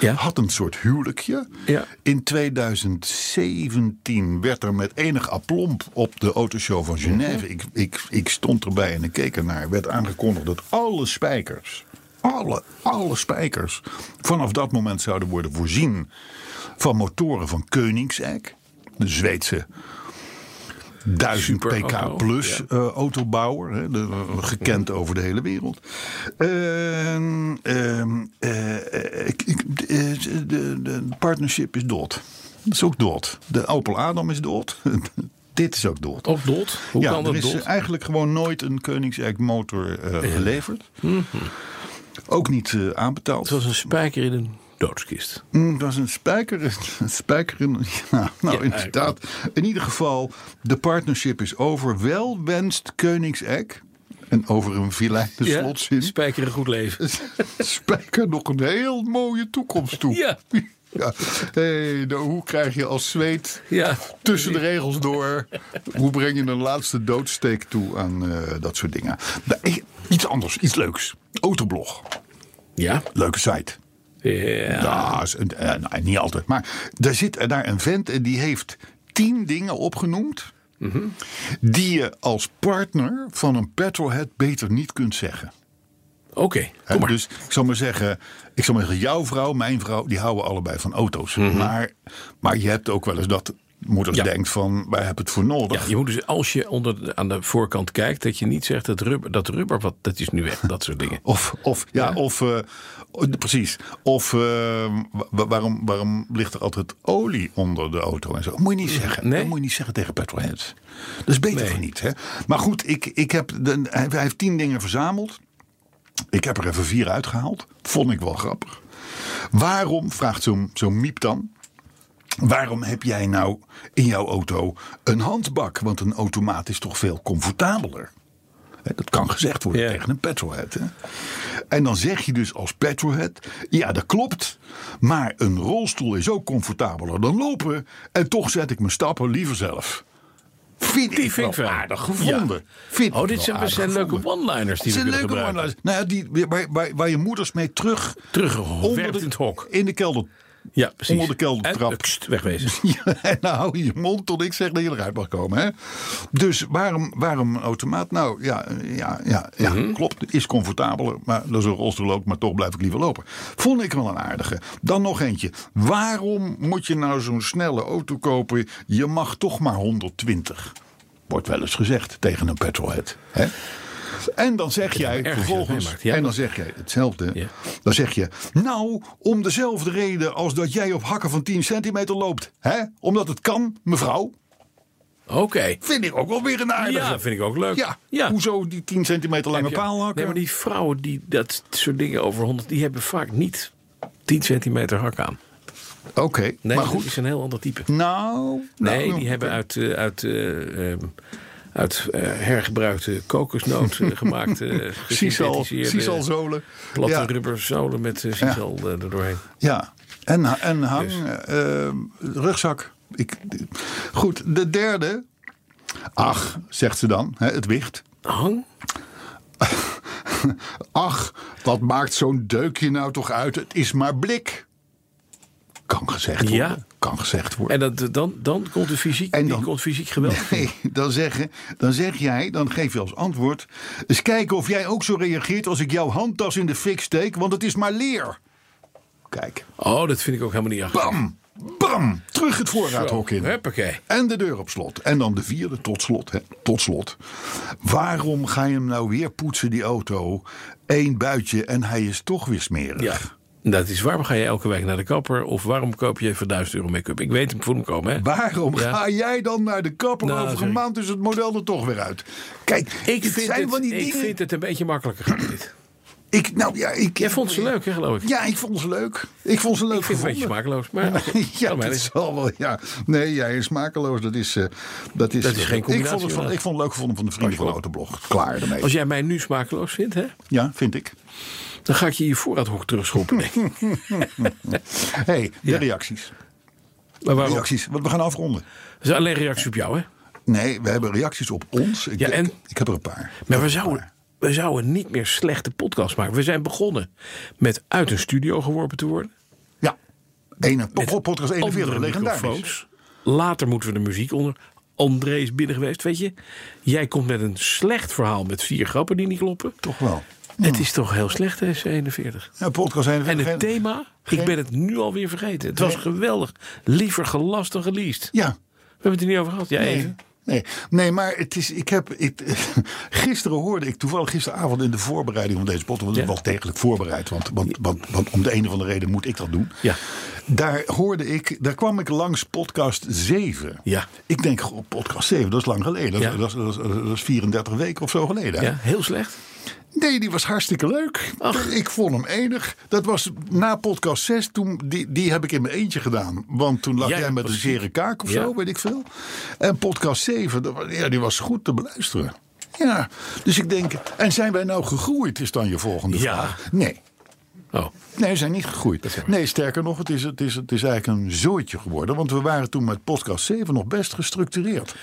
[SPEAKER 2] Ja.
[SPEAKER 3] had een soort huwelijkje.
[SPEAKER 2] Ja.
[SPEAKER 3] In 2017 werd er met enig aplomp op de autoshow van
[SPEAKER 2] Mhm.
[SPEAKER 3] Genève... ik, ik, ik stond erbij en ik keek ernaar... werd aangekondigd dat alle spijkers... Alle, alle spijkers vanaf dat moment zouden worden voorzien van motoren van Koenigsegg, de Zweedse 1000
[SPEAKER 2] Superauto,
[SPEAKER 3] pk plus
[SPEAKER 2] Oh, ja. Mm-hmm.
[SPEAKER 3] eh, autobouwer, hè, de- eh, gekend over de hele wereld. Ehm, ehm, eh, ik- ik- eh, de, de, de partnership is dood. Dat is ook dood. De Opel Adam is dood. <laughs> Dit is ook dood.
[SPEAKER 2] Ook dood. Hoe
[SPEAKER 3] ja,
[SPEAKER 2] kan
[SPEAKER 3] er
[SPEAKER 2] dat
[SPEAKER 3] is eh,
[SPEAKER 2] dood?
[SPEAKER 3] eigenlijk gewoon nooit een Koenigsegg motor eh, geleverd. Ook niet eh, aanbetaald.
[SPEAKER 2] Mhm. Het was een spijker in een doodskist.
[SPEAKER 3] Mm, dat is een spijker. Een spijker in, <laughs> ja, nou,
[SPEAKER 2] Ja,
[SPEAKER 3] inderdaad. In ieder geval, de partnership is over. Wel wenst Koenigsegg. En over een vilijne
[SPEAKER 2] Ja,
[SPEAKER 3] slotzin.
[SPEAKER 2] Spijker een goed leven.
[SPEAKER 3] <laughs> Spijker nog een heel mooie toekomst toe.
[SPEAKER 2] Ja.
[SPEAKER 3] <laughs> Ja. Hey, nou, hoe krijg je als zweet
[SPEAKER 2] Ja.
[SPEAKER 3] tussen de regels door? <laughs> Hoe breng je een laatste doodsteek toe aan eh, dat soort dingen? Nou, eh, iets anders, iets leuks. Autoblog.
[SPEAKER 2] Ja.
[SPEAKER 3] Leuke site.
[SPEAKER 2] Ja.
[SPEAKER 3] Ja, is- eh, eh, nou, niet altijd. Maar daar zit daar een vent en die heeft tien dingen opgenoemd. Die je als partner van een petrolhead beter niet kunt zeggen.
[SPEAKER 2] Oké.
[SPEAKER 3] Hè,
[SPEAKER 2] Kom maar.
[SPEAKER 3] dus ik zal maar zeggen, ik zal maar zeggen, jouw vrouw, mijn vrouw, die houden allebei van auto's. maar, maar je hebt ook wel eens dat moeders
[SPEAKER 2] Mhm. Ja.
[SPEAKER 3] denkt van, wij hebben het voor nodig.
[SPEAKER 2] Ja, je moet dus als je onder de- aan de voorkant kijkt, dat je niet zegt dat rubber, dat rubber wat, dat is nu weg, dat soort
[SPEAKER 3] <laughs>
[SPEAKER 2] dingen.
[SPEAKER 3] Of, of, ja,
[SPEAKER 2] Ja.
[SPEAKER 3] of eh, oh, precies. Of eh, wa- waarom, waarom ligt er altijd olie onder de auto en zo? Moet je niet zeggen.
[SPEAKER 2] Mm, Nee.
[SPEAKER 3] Dat moet je niet zeggen tegen petrolheads. Dat is beter
[SPEAKER 2] Nee.
[SPEAKER 3] van niet. Hè? Maar goed, ik, ik heb de, hij, hij heeft tien dingen verzameld. Ik heb er even vier uitgehaald. Vond ik wel grappig. Waarom, vraagt zo'n zo'n miep dan. Waarom heb jij nou in jouw auto een handbak? Want een automaat is toch veel comfortabeler? Hè, Dat kan gezegd worden
[SPEAKER 2] Ja.
[SPEAKER 3] tegen een petrolhead. Hè? En dan zeg je dus als petrolhead... ja, dat klopt, maar een rolstoel is ook comfortabeler dan lopen... en toch zet ik mijn stappen liever zelf. Vind
[SPEAKER 2] Die
[SPEAKER 3] ik
[SPEAKER 2] vind ik
[SPEAKER 3] wel
[SPEAKER 2] wel.
[SPEAKER 3] aardig gevonden.
[SPEAKER 2] Ja.
[SPEAKER 3] Vind
[SPEAKER 2] Oh,
[SPEAKER 3] ik
[SPEAKER 2] dit
[SPEAKER 3] wel
[SPEAKER 2] zijn,
[SPEAKER 3] aardig
[SPEAKER 2] zijn leuke
[SPEAKER 3] gevonden.
[SPEAKER 2] one-liners die
[SPEAKER 3] Het
[SPEAKER 2] we
[SPEAKER 3] zijn
[SPEAKER 2] kunnen
[SPEAKER 3] leuke
[SPEAKER 2] gebruiken.
[SPEAKER 3] one-liners. Nou ja, die, waar, waar, waar je moeders mee terug...
[SPEAKER 2] Teruggewerkt
[SPEAKER 3] de-
[SPEAKER 2] in het hok.
[SPEAKER 3] In de kelder.
[SPEAKER 2] Ja, precies.
[SPEAKER 3] Onder de keldertrap.
[SPEAKER 2] En, eh, kst,
[SPEAKER 3] <laughs>
[SPEAKER 2] wegwezen.
[SPEAKER 3] Ja, en nou hou je je mond tot ik zeg dat je eruit mag komen. Hè? Dus waarom, waarom een automaat? Nou ja, ja, ja, ja
[SPEAKER 2] Mhm.
[SPEAKER 3] klopt. Is comfortabeler. Maar dat is een rolstoel ook. Maar toch blijf ik liever lopen. Vond ik wel een aardige. Dan nog eentje. Waarom moet je nou zo'n snelle auto kopen? Je mag toch maar 120. Wordt wel eens gezegd tegen een petrolhead. Hè? En dan zeg jij
[SPEAKER 2] erg als je dat
[SPEAKER 3] vervolgens.
[SPEAKER 2] meemaakt, ja.
[SPEAKER 3] en dan zeg jij hetzelfde.
[SPEAKER 2] Ja.
[SPEAKER 3] Dan zeg je, nou, om dezelfde reden als dat jij op hakken van 10 centimeter loopt. Hè? Omdat het kan, mevrouw.
[SPEAKER 2] Oké.
[SPEAKER 3] Vind ik ook wel weer een aardige.
[SPEAKER 2] Ja, vind ik ook leuk.
[SPEAKER 3] Ja, hoezo die 10 centimeter lange
[SPEAKER 2] Heb je-
[SPEAKER 3] paal hakken?
[SPEAKER 2] Nee, maar die vrouwen die dat soort dingen over 100, die hebben vaak niet 10 centimeter hak aan.
[SPEAKER 3] Oké,
[SPEAKER 2] Nee,
[SPEAKER 3] maar
[SPEAKER 2] dat
[SPEAKER 3] goed.
[SPEAKER 2] is een heel ander type.
[SPEAKER 3] Nou,
[SPEAKER 2] Nee,
[SPEAKER 3] nou,
[SPEAKER 2] die hebben uit, eh, uit, eh, ehm, uit eh, hergebruikte kokosnoot
[SPEAKER 3] <laughs>
[SPEAKER 2] eh, gemaakt. eh,
[SPEAKER 3] Sisal,
[SPEAKER 2] gesynthetiseerde
[SPEAKER 3] sisal zolen.
[SPEAKER 2] Platte
[SPEAKER 3] ja.
[SPEAKER 2] rubber zolen met eh, sisal eh, erdoorheen.
[SPEAKER 3] Ja, en, ha- en hang,
[SPEAKER 2] Dus.
[SPEAKER 3] eh, rugzak. Ik, goed, de derde. Ach, zegt ze dan, hè, het wicht.
[SPEAKER 2] Hang?
[SPEAKER 3] <laughs> Ach, wat maakt zo'n deukje nou toch uit? Het is maar blik. Kan gezegd worden.
[SPEAKER 2] Ja.
[SPEAKER 3] Kan gezegd worden.
[SPEAKER 2] En dat, eh, dan, dan komt de fysiek,
[SPEAKER 3] En
[SPEAKER 2] die
[SPEAKER 3] dan-
[SPEAKER 2] komt fysiek geweld.
[SPEAKER 3] Nee, dan, zeggen, dan zeg jij, dan geef je als antwoord. Eens kijken of jij ook zo reageert als ik jouw handtas in de fik steek, want het is maar leer. Kijk.
[SPEAKER 2] Oh, dat vind ik ook helemaal niet achter.
[SPEAKER 3] Bam! Bam! Terug het voorraadhok in.
[SPEAKER 2] Huppakee.
[SPEAKER 3] En de deur op slot. En dan de vierde tot slot. Hè. Tot slot. Waarom ga je hem nou weer poetsen, die auto? Eén buitje en hij is toch weer smerig.
[SPEAKER 2] Ja. Dat is waarom ga je elke week naar de kapper? Of waarom koop je even 1000 euro make-up? Ik weet hem, ik voel hem komen. Hè?
[SPEAKER 3] Waarom
[SPEAKER 2] Ja.
[SPEAKER 3] ga jij dan naar de kapper?
[SPEAKER 2] Nou,
[SPEAKER 3] Over
[SPEAKER 2] sorry.
[SPEAKER 3] een maand is het model er toch weer uit. Kijk,
[SPEAKER 2] Ik,
[SPEAKER 3] het
[SPEAKER 2] vind
[SPEAKER 3] zijn
[SPEAKER 2] het,
[SPEAKER 3] van die
[SPEAKER 2] ik
[SPEAKER 3] dingen.
[SPEAKER 2] vind het een beetje makkelijker gaan dit.
[SPEAKER 3] Ik, nou, ja, ik,
[SPEAKER 2] Jij vond ze leuk, hè, geloof ik?
[SPEAKER 3] Ja, ik vond ze leuk. Ik vond ze leuk
[SPEAKER 2] ik vind het een beetje
[SPEAKER 3] gevonden.
[SPEAKER 2] smakeloos. Maar
[SPEAKER 3] <laughs> Ja,
[SPEAKER 2] kan mij
[SPEAKER 3] dat
[SPEAKER 2] niet.
[SPEAKER 3] zal wel. Ja. Nee, jij is smakeloos. Dat is, eh, dat is,
[SPEAKER 2] Dat is geen
[SPEAKER 3] ik
[SPEAKER 2] combinatie,
[SPEAKER 3] vond, het van,
[SPEAKER 2] inderdaad.
[SPEAKER 3] ik vond het leuk gevonden van de vrienden van de Autoblog. Klaar ermee.
[SPEAKER 2] Als jij mij nu smakeloos vindt, hè,
[SPEAKER 3] Ja, vind ik.
[SPEAKER 2] dan ga ik je je voorraadhok terugschroppen. denk ik.
[SPEAKER 3] hey, de reacties.
[SPEAKER 2] maar waarom?
[SPEAKER 3] Reacties, want we gaan afronden.
[SPEAKER 2] Dat is alleen reactie op jou, hè?
[SPEAKER 3] Nee, we hebben reacties op ons. Ik,
[SPEAKER 2] Ja,
[SPEAKER 3] ik-
[SPEAKER 2] en?
[SPEAKER 3] ik heb er een paar.
[SPEAKER 2] Maar we zouden, we zouden niet meer slechte podcast maken. We zijn begonnen met uit een studio geworpen te worden.
[SPEAKER 3] Ja. Ene, podcast 41,
[SPEAKER 2] Andere
[SPEAKER 3] legendarisch.
[SPEAKER 2] microfoons. Later moeten we de muziek onder. André is binnen geweest, weet je. Jij komt met een slecht verhaal met vier grappen die niet kloppen.
[SPEAKER 3] Toch wel.
[SPEAKER 2] Het is toch heel slecht, deze 41.
[SPEAKER 3] Ja, podcast 41.
[SPEAKER 2] En het
[SPEAKER 3] geen-
[SPEAKER 2] thema, ik
[SPEAKER 3] geen-
[SPEAKER 2] ben het nu alweer vergeten. Het was geweldig. Liever gelast dan geleased.
[SPEAKER 3] Ja.
[SPEAKER 2] We hebben het er niet over gehad. Ja,
[SPEAKER 3] Nee.
[SPEAKER 2] even.
[SPEAKER 3] Nee, nee, maar het is, ik heb, ik, <laughs> gisteren hoorde ik toevallig gisteravond in de voorbereiding van deze podcast, want ik
[SPEAKER 2] Ja.
[SPEAKER 3] was degelijk voorbereid, want, want, want, want om de een of andere reden moet ik dat doen.
[SPEAKER 2] Ja.
[SPEAKER 3] Daar hoorde ik, daar kwam ik langs podcast 7.
[SPEAKER 2] Ja.
[SPEAKER 3] Ik denk, goh, podcast 7, dat is lang geleden. Dat, is-
[SPEAKER 2] Ja.
[SPEAKER 3] dat, is- dat, is- dat is 34 weken of zo geleden.
[SPEAKER 2] Ja, heel slecht.
[SPEAKER 3] Nee, die was hartstikke leuk.
[SPEAKER 2] Ach.
[SPEAKER 3] Ik vond hem enig. Dat was na podcast 6. Toen, die, die heb ik in mijn eentje gedaan. Want toen lag
[SPEAKER 2] Jij
[SPEAKER 3] jij, met
[SPEAKER 2] was
[SPEAKER 3] een zere kaak of
[SPEAKER 2] Ja.
[SPEAKER 3] zo, weet ik veel. En podcast 7, dat was- ja, die was goed te beluisteren. Ja, dus ik denk... En zijn wij nou gegroeid, is dan je volgende
[SPEAKER 2] Ja.
[SPEAKER 3] vraag. Nee.
[SPEAKER 2] Oh,
[SPEAKER 3] Nee, we zijn niet
[SPEAKER 2] is
[SPEAKER 3] gegroeid.
[SPEAKER 2] waar.
[SPEAKER 3] Nee, sterker nog, het is, het, is, het is eigenlijk een zooitje geworden. Want we waren toen met podcast 7 nog best gestructureerd.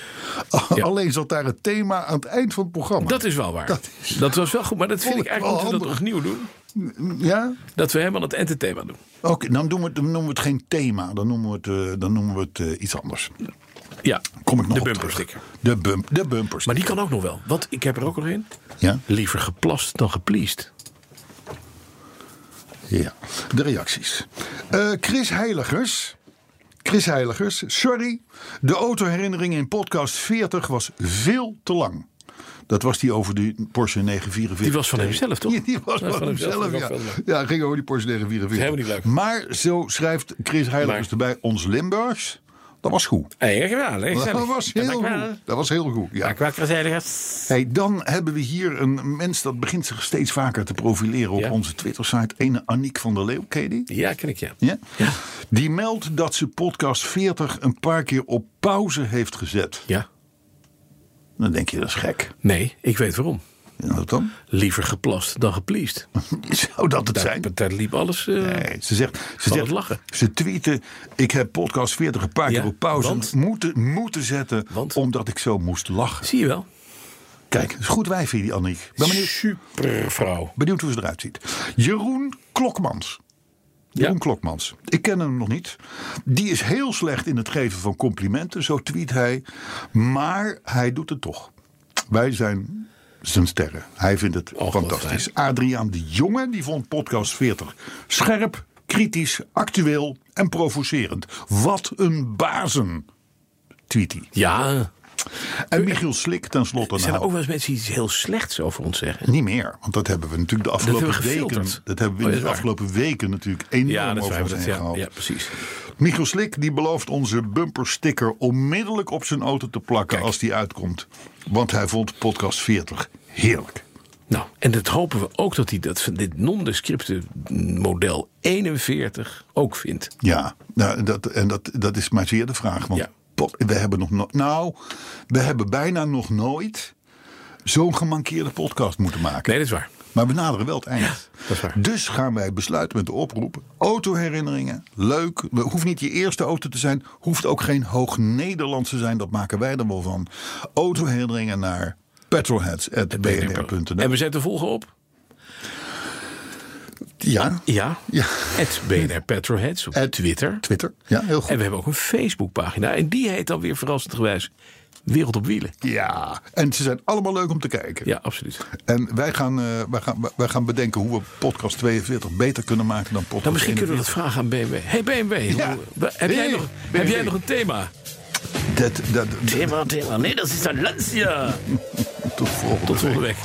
[SPEAKER 3] Alleen zat daar het thema aan het eind van het programma.
[SPEAKER 2] dat is wel waar. Dat,
[SPEAKER 3] Dat
[SPEAKER 2] was wel goed, maar dat vind
[SPEAKER 3] Vond
[SPEAKER 2] ik
[SPEAKER 3] ik
[SPEAKER 2] eigenlijk
[SPEAKER 3] wel
[SPEAKER 2] moeten we dat opnieuw doen.
[SPEAKER 3] Ja?
[SPEAKER 2] Dat we helemaal het eindthema doen.
[SPEAKER 3] Oké, dan, doen we het- dan noemen we het geen thema. Dan noemen we het, eh, dan noemen we het eh, iets anders.
[SPEAKER 2] Ja,
[SPEAKER 3] Kom ik nog
[SPEAKER 2] de
[SPEAKER 3] op
[SPEAKER 2] bumpersticker.
[SPEAKER 3] terug. De, bump, de bumpers.
[SPEAKER 2] Maar die kan ook nog wel. Want ik heb er ook nog een.
[SPEAKER 3] Ja?
[SPEAKER 2] Liever geplast dan gepleased.
[SPEAKER 3] ja, de reacties. Eh, Chris Heiligers. Chris Heiligers, sorry. De autoherinnering in podcast 40 was veel te lang. Dat was die over de Porsche 944.
[SPEAKER 2] Die was van hemzelf, toch?
[SPEAKER 3] Ja, <laughs> die was
[SPEAKER 2] Ja,
[SPEAKER 3] van, hemzelf,
[SPEAKER 2] Dat
[SPEAKER 3] ja.
[SPEAKER 2] was wel leuk.
[SPEAKER 3] Ja, ging over die Porsche 944.
[SPEAKER 2] Helemaal niet leuk.
[SPEAKER 3] Maar zo schrijft Chris Heiligers
[SPEAKER 2] Maar-
[SPEAKER 3] erbij, ons Limburgs. Dat was goed.
[SPEAKER 2] Hey, ja, leuk, gezellig.
[SPEAKER 3] Dat was heel goed. Dat was heel goed. Ja. Hey, dan hebben we hier een mens dat begint zich steeds vaker te profileren op
[SPEAKER 2] Ja.
[SPEAKER 3] onze Twitter-site. Ene Aniek van der Leeuw, ken je die?
[SPEAKER 2] Ja, ken ik, ja.
[SPEAKER 3] Ja? Die meldt dat ze podcast 40 een paar keer op pauze heeft gezet.
[SPEAKER 2] Ja?
[SPEAKER 3] Dan denk je, dat is gek.
[SPEAKER 2] Nee, ik weet waarom.
[SPEAKER 3] En dat dan? <laughs>
[SPEAKER 2] Liever geplast dan gepleased.
[SPEAKER 3] Zou dat het zijn?
[SPEAKER 2] Daar, daar liep alles... eh,
[SPEAKER 3] Nee, ze zegt, ze,
[SPEAKER 2] Zal
[SPEAKER 3] zegt
[SPEAKER 2] het lachen?
[SPEAKER 3] ze tweeten, ik heb podcast 40 een paar
[SPEAKER 2] Ja,
[SPEAKER 3] keer op pauze
[SPEAKER 2] want?
[SPEAKER 3] moeten, moeten zetten,
[SPEAKER 2] Want?
[SPEAKER 3] omdat ik zo moest lachen.
[SPEAKER 2] Zie je wel?
[SPEAKER 3] Kijk, dat is goed wijfje die Aniek. Ben benieuwd-
[SPEAKER 2] Super vrouw.
[SPEAKER 3] Benieuwd hoe ze eruit ziet. Jeroen Klokmans. Jeroen
[SPEAKER 2] Ja.
[SPEAKER 3] Klokmans. Ik ken hem nog niet. Die is heel slecht in het geven van complimenten, zo tweet hij. Maar hij doet het toch. Wij zijn zijn sterren. Hij vindt het
[SPEAKER 2] wat
[SPEAKER 3] fantastisch. Adriaan de Jonge, die vond podcast 40 scherp, kritisch, actueel en provocerend. Wat een bazen, tweet hij.
[SPEAKER 2] Ja,
[SPEAKER 3] En Michiel Slik tenslotte.
[SPEAKER 2] zijn er
[SPEAKER 3] nou,
[SPEAKER 2] ook wel eens mensen die iets heel slechts over ons zeggen?
[SPEAKER 3] niet meer, want dat hebben we natuurlijk de afgelopen
[SPEAKER 2] hebben we
[SPEAKER 3] weken.
[SPEAKER 2] gefilterd.
[SPEAKER 3] Dat hebben we
[SPEAKER 2] Oh,
[SPEAKER 3] in
[SPEAKER 2] is
[SPEAKER 3] de
[SPEAKER 2] waar.
[SPEAKER 3] afgelopen weken natuurlijk enorm
[SPEAKER 2] Ja, dat
[SPEAKER 3] over
[SPEAKER 2] zijn
[SPEAKER 3] ons
[SPEAKER 2] we.
[SPEAKER 3] heen
[SPEAKER 2] Ja,
[SPEAKER 3] gehaald.
[SPEAKER 2] ja, precies.
[SPEAKER 3] Michiel Slik die belooft onze bumpersticker onmiddellijk op zijn auto te plakken
[SPEAKER 2] Kijk.
[SPEAKER 3] als die uitkomt. Want hij vond podcast 40 heerlijk.
[SPEAKER 2] Nou, en dat hopen we ook dat hij dat van dit non-descripte model 41 ook vindt.
[SPEAKER 3] Ja, nou, dat, en dat, dat is maar zeer de vraag. Want
[SPEAKER 2] Ja.
[SPEAKER 3] pot- we hebben nog no- nou, we hebben bijna nog nooit zo'n gemankeerde podcast moeten maken.
[SPEAKER 2] Nee, dat is waar.
[SPEAKER 3] Maar we naderen wel het eind.
[SPEAKER 2] dat is waar.
[SPEAKER 3] Dus gaan wij besluiten met de oproep. Autoherinneringen, leuk. We hoeft niet je eerste auto te zijn. Hoeft ook geen hoog Nederlands te zijn. Dat maken wij er wel van. Autoherinneringen naar
[SPEAKER 2] En
[SPEAKER 3] petrolheads.bnr.nl
[SPEAKER 2] we zetten de volgen op.
[SPEAKER 3] Ja,
[SPEAKER 2] Ja.
[SPEAKER 3] Ja.
[SPEAKER 2] Het BNR Petroheads op
[SPEAKER 3] At
[SPEAKER 2] Twitter.
[SPEAKER 3] Twitter. Ja, heel goed.
[SPEAKER 2] En we hebben ook een Facebookpagina. En die heet dan weer verrassendgewijs Wereld op Wielen.
[SPEAKER 3] Ja, en ze zijn allemaal leuk om te kijken.
[SPEAKER 2] Ja, absoluut. Nou,
[SPEAKER 3] En wij gaan, eh, wij, gaan, wij gaan bedenken hoe we podcast 42 beter kunnen maken dan podcast
[SPEAKER 2] Nou, misschien kunnen we dat
[SPEAKER 3] 41.
[SPEAKER 2] vragen aan BMW. hey BMW,
[SPEAKER 3] Ja.
[SPEAKER 2] hoe- wa- heb, jij
[SPEAKER 3] Hey,
[SPEAKER 2] nog, heb jij
[SPEAKER 3] BMW.
[SPEAKER 2] nog een thema?
[SPEAKER 3] Dat, dat, dat-
[SPEAKER 2] Thema, thema. Nee, dat is een Lancia.
[SPEAKER 3] tot volgende
[SPEAKER 2] Tot volgende
[SPEAKER 3] week.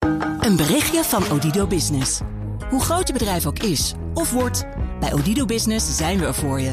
[SPEAKER 2] week.
[SPEAKER 6] Een berichtje van Odido Business. Hoe groot je bedrijf ook is of wordt, bij Odido Business zijn we er voor je.